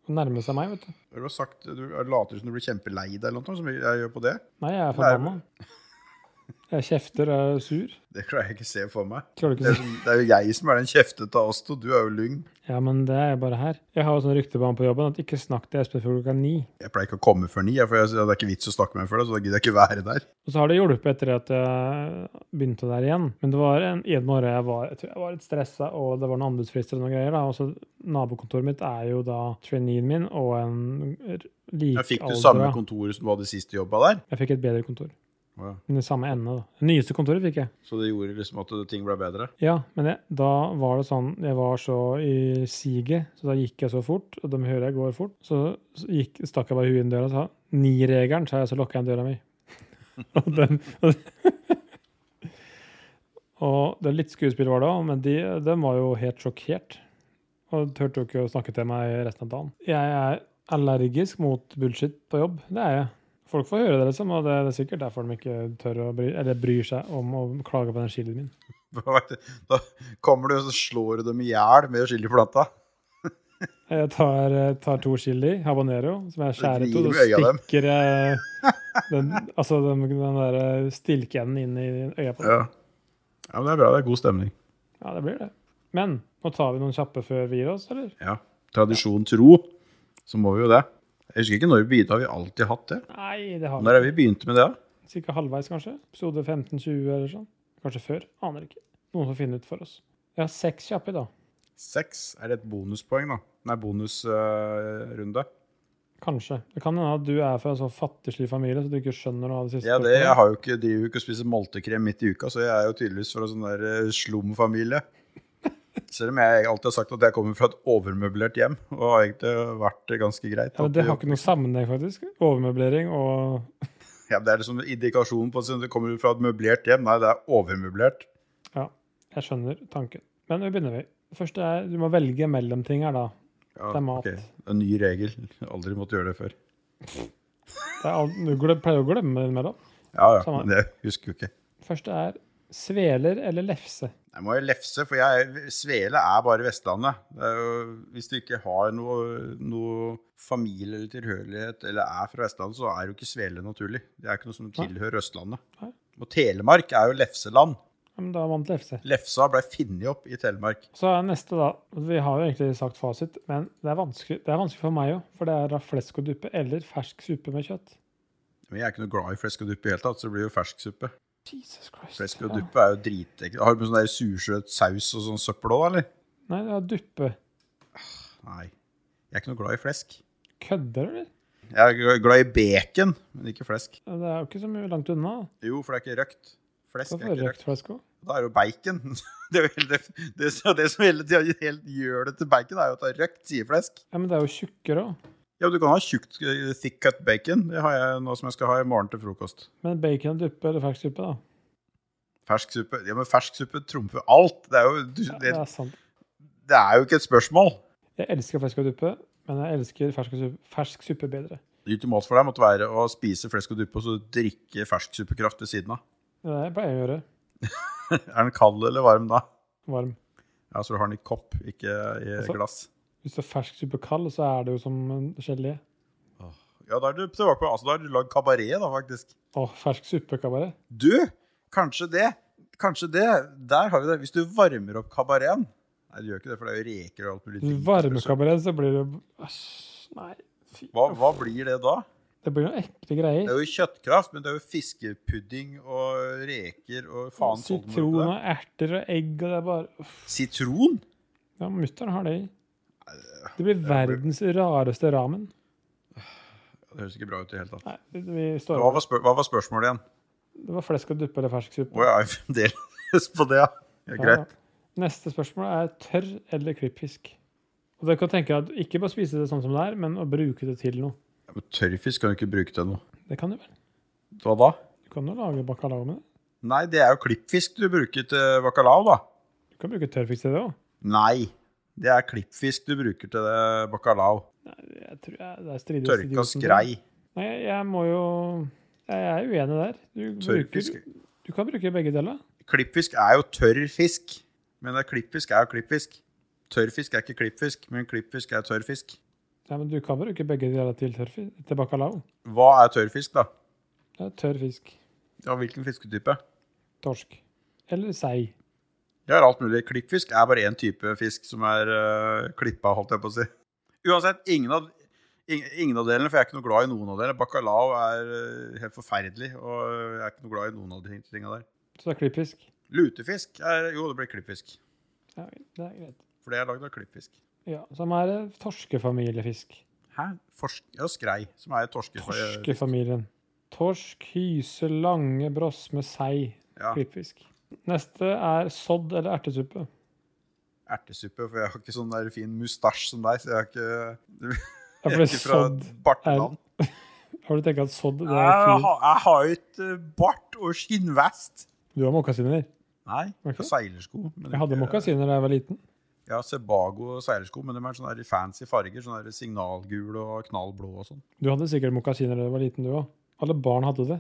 S2: å nærme seg meg, vet du.
S1: Har Du har sagt, du later som du blir kjempelei deg eller noe, som jeg gjør på det.
S2: Nei, jeg er forbanna. Jeg kjefter og er sur.
S1: Det klarer jeg ikke å se for meg.
S2: Klarer du
S1: Det er,
S2: ikke å
S1: som, det er jo jeg som er den kjeftete av oss to. Du er jo lugn.
S2: si Ja, men det er jeg bare her. Jeg har jo sånn ryktebane på jobben at ikke snakk til Espen før klokka ni.
S1: Jeg pleier ikke å komme før ni, jeg, for jeg, det er ikke vits å snakke med meg før det, så da gidder jeg ikke være der.
S2: Og så har det hjulpet etter at jeg begynte der igjen. Men det var en, en morgen jeg var, jeg tror jeg var litt stressa, og det var noen anbudsfrister og noen greier. da. Og så Nabokontoret mitt er jo da traineen min og en r-
S1: Jeg fikk du samme
S2: likealdra.
S1: kontoret som du hadde sist du jobba der.
S2: Jeg fikk et bedre kontor.
S1: Å ja.
S2: Men i samme ende, da. Det nyeste kontoret fikk jeg.
S1: Så det gjorde liksom at ting ble bedre.
S2: Ja, men jeg, da var det sånn Jeg var så i siget, så da gikk jeg så fort, og de hører jeg går fort. Så, så gikk, stakk jeg bare huet inn døra og sa ni-regelen, sa jeg, så lukka jeg døra mi. og, den, og, og det er litt skuespill var det òg, men de, de var jo helt sjokkert. Og turte jo ikke å snakke til meg resten av dagen. Jeg er allergisk mot bullshit på jobb, det er jeg. Folk får høre det, liksom, og det er sikkert derfor de ikke tør å bry, eller bryr seg om å klage på den chilien min.
S1: Da kommer du og så slår du dem i hjel med chiliplata.
S2: Jeg tar, eh, tar to chili, habanero, som jeg skjærer i to.
S1: Gnir med øya
S2: Så
S1: dem.
S2: stikker jeg den, altså den, den der stilkeenden inn i øya på dem.
S1: Ja. ja, men det er bra. Det er god stemning.
S2: Ja, det blir det. Men nå tar vi noen kjappe før vi gir oss, eller?
S1: Ja. Tradisjon tro, så må vi jo det. Jeg husker ikke når vi begynte. Har vi alltid hatt det?
S2: Nei, det har vi
S1: Når er vi begynte med det? da?
S2: ikke. Cirka halvveis, kanskje? Episode 15-20 eller sånn. Kanskje før? Aner ikke. Noen får finne ut for oss. Jeg har seks kjappe i dag.
S1: Seks er det et bonuspoeng, da. Nei, bonusrunde.
S2: Kanskje. Det kan hende at du er fra en sånn fattigslig familie, så du ikke skjønner noe av det siste.
S1: ja, det,
S2: spørsmålet.
S1: jeg har jo ikke, driver jo ikke og spiser moltekrem midt i uka, så jeg er jo tydeligvis fra en sånn der eh, slumfamilie. Selv om jeg alltid har sagt at jeg kommer fra et overmøblert hjem, og har egentlig vært det ganske greit.
S2: ja, men
S1: at
S2: det
S1: du-
S2: har ikke noe sammenheng, faktisk. Overmøblering og
S1: ja, det er liksom en indikasjon på at du kommer fra et møblert hjem. Nei, det er overmøblert.
S2: Jeg skjønner tanken. Men vi begynner, vi. Det første er du må velge mellom ting her, da.
S1: Ja,
S2: Det er mat.
S1: ok. En ny regel. Aldri måtte gjøre det før.
S2: Det er alt, du glem- pleier å glemme det innimellom.
S1: Ja, ja,
S2: Samme.
S1: men det husker jo ikke.
S2: Første er sveler eller lefse.
S1: Jeg må jo lefse, for jeg, Svele er bare Vestlandet. Det er jo, hvis du ikke har noe, noe familie eller tilhørighet eller er fra Vestlandet, så er jo ikke Svele naturlig. Det er ikke noe som tilhører Østlandet.
S2: Nei.
S1: Og Telemark er jo lefseland.
S2: Ja, men da vant lefse.
S1: Lefsa ble funnet opp i Telemark.
S2: Så er neste, da. Vi har jo egentlig sagt fasit, men det er vanskelig, det er vanskelig for meg òg. For det er da fleskoduppe eller fersk suppe med kjøtt.
S1: Men jeg er ikke noe glad i flesk og dupp i hele tatt, så det blir jo fersksuppe.
S2: Jesus Christ.
S1: Flesk og
S2: Ja.
S1: duppe er jo dritekkelt. Har du med sånn der sursøt saus og sånn søppel òg, eller?
S2: Nei, det er duppe.
S1: Nei. Jeg er ikke noe glad i flesk.
S2: Kødder du, eller?
S1: Jeg er glad i bacon, men ikke flesk.
S2: Det er jo ikke så mye langt unna.
S1: Jo, for det er ikke røkt. Flesk er
S2: Hvorfor
S1: ikke røkt.
S2: røkt flesk òg?
S1: Da er det jo bacon. Det, er jo hele, det, det, det som hele tida helt gjør det til bacon, er jo at det er røkt sideflesk.
S2: Ja, men det er jo tjukkere òg.
S1: Ja, du kan ha tjukt eh, thick cut bacon. Det har jeg nå som jeg skal ha i morgen til frokost.
S2: Men bacon og duppe eller fersk suppe, da.
S1: Fersk suppe. Ja, men fersk suppe trumfer alt. Det er jo, du,
S2: Ja,
S1: det,
S2: det er sant.
S1: det er jo ikke et spørsmål.
S2: Jeg elsker flesk og duppe, men jeg elsker fersk, suppe, fersk suppe bedre.
S1: Nytt mat for deg måtte være å spise flesk og duppe og så drikke fersk suppekraft ved siden av.
S2: Det er det jeg pleier å gjøre.
S1: Er den kald eller varm da?
S2: Varm.
S1: Ja, Så du har den i kopp, ikke i
S2: Altså-
S1: glass.
S2: Hvis det er fersk suppe kald, så er det jo som en gelé.
S1: Ja, da er du tilbake på Altså, da har du lagd kabaret, da, faktisk.
S2: Å, fersk suppe kabaret.
S1: Du, kanskje det. Kanskje det. Der har vi det. Hvis du varmer opp kabareten Nei, du gjør ikke det, for det er jo reker og alt mulig. dritt.
S2: Varmekabaret, så blir det jo Æsj. Nei. Fy.
S1: Hva, hva blir det da?
S2: Det blir noen ekle
S1: Det
S2: greier.
S1: er jo kjøttkraft, men det er jo fiskepudding og reker og faen sånn med
S2: Sitron
S1: det.
S2: og erter og egg, og det er bare Uff.
S1: Sitron?
S2: Ja, mutter'n har det i. Det blir verdens rareste ramen.
S1: Det høres ikke bra ut i det hele tatt.
S2: Nei, vi står
S1: Hva var, spør hva var spørsmålet igjen?
S2: Det var flesk og duppe eller fersk suppe.
S1: Å, jeg er fremdeles på det, ja. ja
S2: Ja, ja.
S1: greit.
S2: Neste spørsmål er tørr eller klippfisk. Og dere kan tenke at Ikke bare spise det sånn som det er, men å bruke det til noe.
S1: Ja, men Tørrfisk kan du ikke bruke til noe.
S2: Det kan du vel?
S1: Hva da?
S2: Du kan jo lage bacalao med det.
S1: Nei, det er jo klippfisk du bruker til bacalao, da.
S2: Du kan bruke tørrfisk til det òg.
S1: Nei, det er klippfisk du bruker til eh, bacalao.
S2: Jeg tror jeg, det er stridig
S1: Tørka skrei.
S2: Nei, jeg må jo Jeg er uenig der. Du,
S1: Tørrfisk.
S2: bruker, du kan bruke begge deler.
S1: Klippfisk er jo tørr fisk. Men det er klippfisk er jo klippfisk. Tørrfisk er ikke klippfisk, men klippfisk er tørrfisk.
S2: Ja, men du kan bruke begge deler til, tørrfi- til bacalao.
S1: Hva er tørrfisk, da?
S2: Det er tørr fisk.
S1: Ja, Hvilken fisketype?
S2: Torsk. Eller sei.
S1: Det er alt mulig. Klippfisk er bare én type fisk som er uh, klippa, holdt jeg på å si. Uansett, ingen av, ing- ingen av delene, for jeg er ikke noe glad i noen av delene. Bacalao er eh, helt forferdelig, og jeg er ikke noe glad i noen av de tinga der.
S2: Så det er klippfisk.
S1: Lutefisk er Jo, det blir klippfisk.
S2: Ja, det er greit.
S1: For det er lagd av klippfisk.
S2: Ja, Som er det torskefamiliefisk.
S1: Hæ? Forsk ja, skrei, som er torske...
S2: Torskefamilien. Torsk, hyse, lange, brosme, sei.
S1: Ja,
S2: Klippfisk. Neste er sodd eller ertesuppe.
S1: ertesuppe, for jeg har ikke sånn der fin mustasj som deg, så jeg har ikke
S2: Ja,
S1: Jeg er
S2: for det
S1: ikke
S2: er
S1: fra
S2: sodd.
S1: barteland.
S2: Har du tenkt at sodd det
S1: Jeg,
S2: er fint?
S1: har- jeg har jo ikke eh, bart og skinnvest.
S2: Du har mokkasiner.
S1: Nei,
S2: Ok.
S1: og seilersko. men
S2: Jeg hadde
S1: ikke-
S2: mokkasiner da jeg var liten.
S1: Ja, Sebago og seilersko, men de er sånne der fancy farger. Sånne der signalgule og knallblå og sånn.
S2: Du hadde sikkert mokkasiner da du var liten, du òg. Alle barn hadde det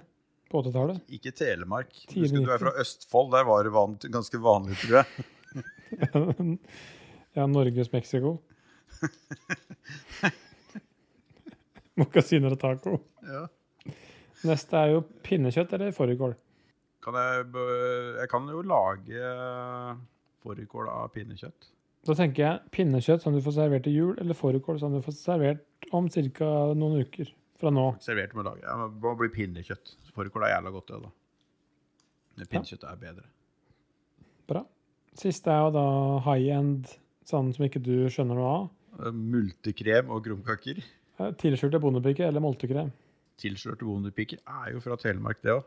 S2: på 80-tallet.
S1: Ikke Telemark.
S2: Tidlig
S1: Husker du er fra Østfold, der var det van ganske vanlig, tror jeg.
S2: ja, Norges Mexico. mokkasiner og taco.
S1: Ja.
S2: Neste er jo pinnekjøtt eller fårikål.
S1: Kan jeg, bø- jeg kan jo lage eh, fårikål av pinnekjøtt.
S2: Da tenker jeg pinnekjøtt som du får servert til jul, eller fårikål som du får servert om ca. noen uker fra nå.
S1: Servert med lag. Ja, men det må bli pinnekjøtt. Fårikål er jævla godt, det, da. Men pinnekjøtt er bedre.
S2: Bra. Siste er jo da high-end, sånn som ikke du skjønner noe av.
S1: Eh, Multekrem og krumkaker.
S2: Eh, Tilskjørte bondepiker eller moltekrem.
S1: Tilslørte bondepiker er jo fra Telemark, det òg.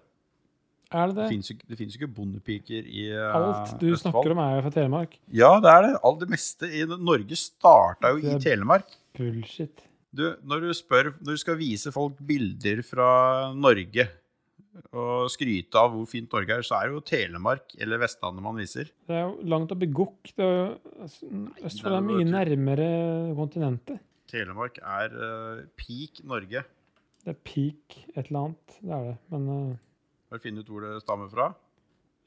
S2: Er det
S1: Det
S2: det?
S1: fins jo ikke- det fins jo ikke bondepiker i eh,
S2: Alt du snakker om er jo fra Telemark.
S1: Ja, det er det. Alt det meste i Norge starta jo i
S2: Det-
S1: Telemark.
S2: Bullshit.
S1: Du, når du spør Når du skal vise folk bilder fra Norge og skryte av hvor fint Norge er, så er det jo Telemark eller Vestlandet man viser.
S2: Det er jo langt opp i Gokk. Det er jo- Østfold er mye nærmere kontinentet.
S1: Telemark er eh, peak Norge.
S2: Det er peak et eller annet. Det er det. Men eh,
S1: Har du funnet ut hvor det stammer fra?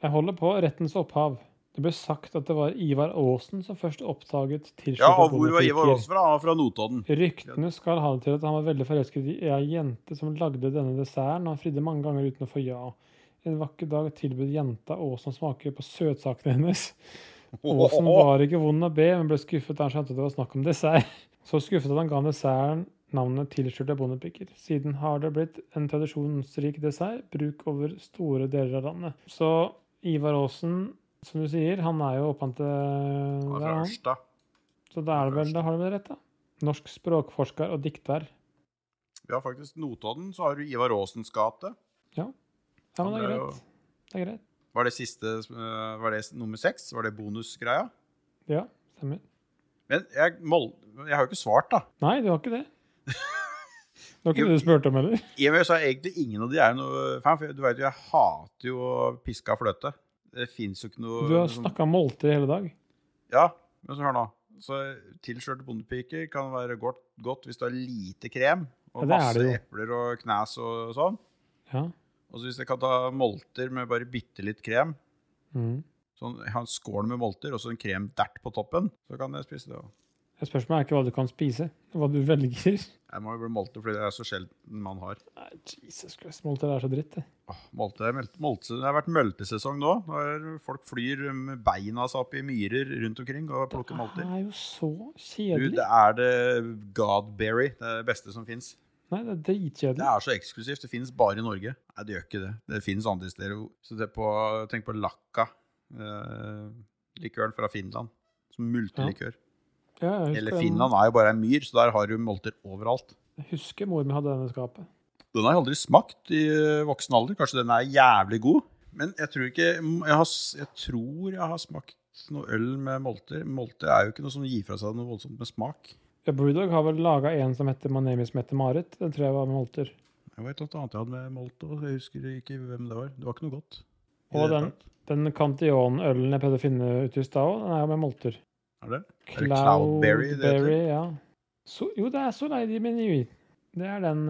S2: jeg holder på rettens opphav. Det ble sagt at det var Ivar Aasen som først oppdaget tilsluttet
S1: Ja, og hvor var Ivar
S2: politiker.
S1: Aasen fra? Han var fra Notodden.
S2: Ryktene skal ha det til at han var veldig forelsket i ei jente som lagde denne desserten, og han fridde mange ganger uten å få ja. En vakker dag tilbød jenta Åsen å smake på søtsakene hennes. Åsen var ikke vond å be, men ble skuffet da han skjønte det var snakk om dessert. Så skuffet at han ga desserten navnet tilskjulte bondepiker. Siden har det blitt en tradisjonsrik dessert, bruk over store deler av landet. Så Ivar Aasen, som du sier, han er jo opphav til
S1: Han er
S2: det
S1: fra
S2: er han.
S1: Ørsta.
S2: Så da er det vel, da har du vel rett, da. Norsk språkforsker og dikter.
S1: Vi har faktisk Notodden, så har du Ivar Aasens gate.
S2: Ja,
S1: Ja,
S2: men det er
S1: det er
S2: greit. Det er greit.
S1: Var det siste eh, Var det nummer seks? Var det bonusgreia?
S2: Ja, stemmer.
S1: Men jeg, mål, jeg har jo ikke svart, da.
S2: Nei, du har ikke det. Det var ikke det du spurte om heller.
S1: I og med så er egentlig ingen av de er noe fan, for du vet jo, jeg hater jo å piske av fløte. Det fins jo ikke noe
S2: Du har
S1: som-
S2: snakka måltid hele dag.
S1: Ja, men så hør nå. Så tilskjørte bondepiker kan være godt, godt hvis du har lite krem, og
S2: Ja, det er
S1: masse
S2: det
S1: epler og knas og sånn.
S2: Ja.
S1: Og så hvis jeg kan ta molter med bare bitte litt krem,
S2: Mm.
S1: sånn jeg har en skål med molter og så en krem dert på toppen, så kan jeg spise det òg.
S2: Jeg Spørsmålet er ikke hva du kan spise, hva du velger.
S1: Jeg må jo bli molter fordi det er så sjelden man har.
S2: Nei, Jesus Christ, måltider er så dritt, det.
S1: Åh, molte, er melt- molte, det har vært møltesesong nå. Når folk flyr med beina seg opp i myrer rundt omkring og plukker
S2: Det
S1: molter.
S2: er jo så
S1: Du,
S2: kjedelig.
S1: det er det Godberry. Det er det beste som fins.
S2: Nei, det er
S1: Det
S2: dritkjedelig.
S1: er så eksklusivt. Det fins bare i Norge. Nei, det gjør ikke det. Det fins andre steder. jo. Så det er på, tenk på Lakka. Eh, likøren fra Finland. Som multelikør.
S2: Ja, jeg husker
S1: Eller
S2: den-
S1: Finland er jo bare ei myr, så der har du molter overalt.
S2: Jeg husker mor mi hadde denne skapet.
S1: Den har jeg aldri smakt i eh, voksen alder. Kanskje den er jævlig god. Men jeg tror ikke Jeg, har, s- jeg tror jeg har smakt noe øl med molter. Molter er jo ikke noe som gir fra seg noe voldsomt med smak.
S2: Ja, Brewdog har vel laga en som heter My Name Is Mette-Marit. Den tror jeg var med molter.
S1: Jeg vet noe annet jeg hadde med molter, og jeg husker ikke hvem det var. Det var ikke noe godt. I det hele
S2: Og den,
S1: tatt.
S2: den Cantillon-ølen jeg prøvde å finne ut i stad òg, den er jo med molter.
S1: Er det? Er det Cloudberry
S2: Cloudberry,
S1: det heter?
S2: ja. So, jo, det er Soleidi Menui. det er den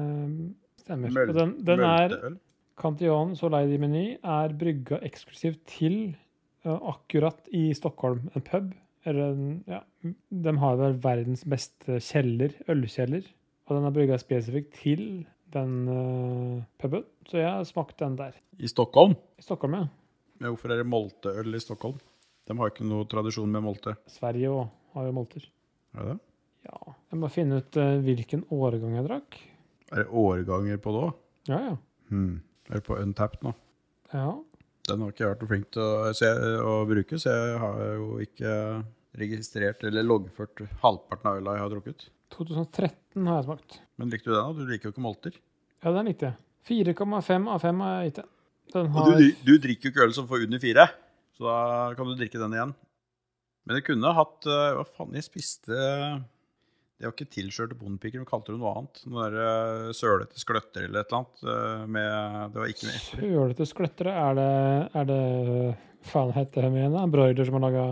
S2: eh, stemmer.
S1: Møl-
S2: Og den, den er
S1: mølteøl?
S2: Cantillon Soleidi Meny er brygga eksklusivt til eh, akkurat i Stockholm, en pub. Eller en, ja, de har vel verdens beste kjeller, ølkjeller. Og den er brygga spesifikt til den eh, puben. Så jeg har smakt den der.
S1: I Stockholm?
S2: I Stockholm, ja.
S1: Men hvorfor er det molteøl i Stockholm? De har ikke noe tradisjon med molte.
S2: Sverige òg har jo molter.
S1: Er det det?
S2: Ja. Jeg må finne ut eh, hvilken årgang jeg drakk.
S1: Er det årganger på det òg?
S2: Ja, ja.
S1: Hmm. Er det på Untapped nå?
S2: Ja. Den
S1: Den har ikke jeg vært noe flink til å, se, å bruke, så jeg har jo ikke registrert eller loggført halvparten av øla jeg har drukket.
S2: 2013 har jeg smakt.
S1: Men likte du den? da? Du liker jo ikke molter.
S2: Ja, den likte jeg. 4,5 av 5 har jeg gitt den. Den
S1: Og
S2: har
S1: du, du drikker jo ikke øl som får under fire, så da kan du drikke den igjen. Men jeg kunne hatt eh, Hva faen, jeg spiste Det var ikke tilskjørte bondepiker, men kalte det noe annet. Noe der, eh, sølete skløtter eller et eller annet. eh, Med, det var ikke med epler.
S2: Sølete skløttere. Er det, er det Faen, heter det igjen? da? Broiler som har laga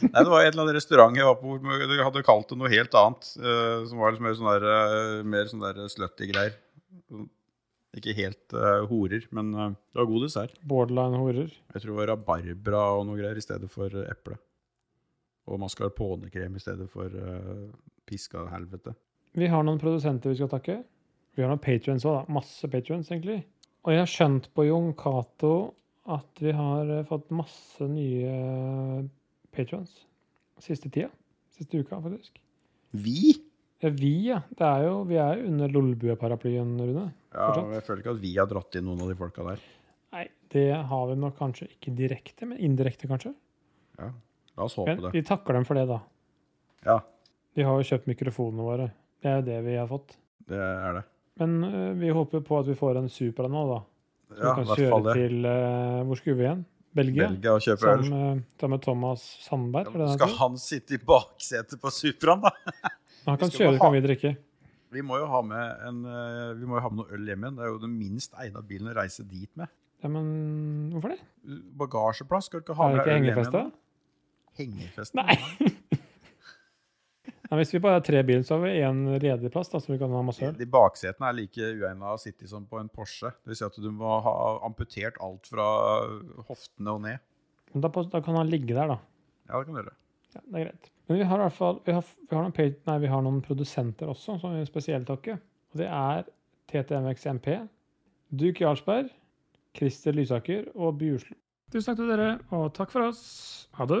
S1: Nei, det var en eller annen restaurant jeg var på hvor de hadde kalt det noe helt annet. eh, Som var liksom mer sånn der, eh, mer sånn der slutty greier. Ikke helt eh, horer, men eh, det var god dessert.
S2: borderline horer?
S1: Jeg tror det var rabarbra og noe greier i stedet for eh, eple. Og mascarponekrem i stedet for eh, piska helvete.
S2: Vi har noen produsenter vi skal takke. Vi har noen patrions òg, da. Masse patrions, egentlig. Og jeg har skjønt på Jon Cato at vi har eh, fått masse nye patrions siste tida. Siste uka, faktisk.
S1: Vi?
S2: Ja, vi, ja. Det er jo, vi er jo under Lolbua-paraplyen, Rune.
S1: Ja,
S2: Fortsatt.
S1: men jeg føler ikke at vi har dratt inn noen av de folka der.
S2: Nei, det har vi nok kanskje ikke direkte, men indirekte, kanskje.
S1: La oss håpe
S2: Men
S1: det.
S2: vi takker dem for det, da.
S1: Ja,
S2: De har jo kjøpt mikrofonene våre. Det er jo det vi har fått.
S1: det er det.
S2: Men øh, vi håper på at vi får en Supra nå, da. Som
S1: Ja, i
S2: vi kan
S1: hvert
S2: kjøre
S1: fall det.
S2: til øh, Hvor skulle vi igjen? Belgia?
S1: Belgia og kjøpe øl.
S2: Sammen med, sammen med Thomas Sandberg. er det han
S1: Skal
S2: heter?
S1: han sitte i baksetet på Supraen, da?
S2: han
S1: skal
S2: kan
S1: bare
S2: kjøre,
S1: ha-
S2: kan vi drikke.
S1: Vi må jo ha med, en, eh, vi må jo ha med noe øl hjem igjen. Det er jo den minst egna bilen å reise dit med.
S2: Ja, men hvorfor det?
S1: Bagasjeplass skal du ikke ha
S2: Er
S1: med
S2: det ikke
S1: deg øl hjem
S2: hengefeste?
S1: igjen. Hengefeste?
S2: Nei. Nei, hvis vi bare har tre biler, så har vi én ledig plass da, som vi kan ha masse øl.
S1: De baksetene er like uegna å sitte i som på en Porsche. Det vil si at du må ha amputert alt fra hoftene og ned.
S2: Men Da, da kan han ligge der, da.
S1: Ja, det kan du gjøre.
S2: Ja, det er greit. Men vi har i hvert fall vi har, vi har, noen, pa- nei, vi har noen produsenter også, som vi vil spesielt takke. Og det er TTMXMP, Duke Jarlsberg, Christer Lysaker og Bjuslo. Tusen takk til dere, og takk for oss. Ha det.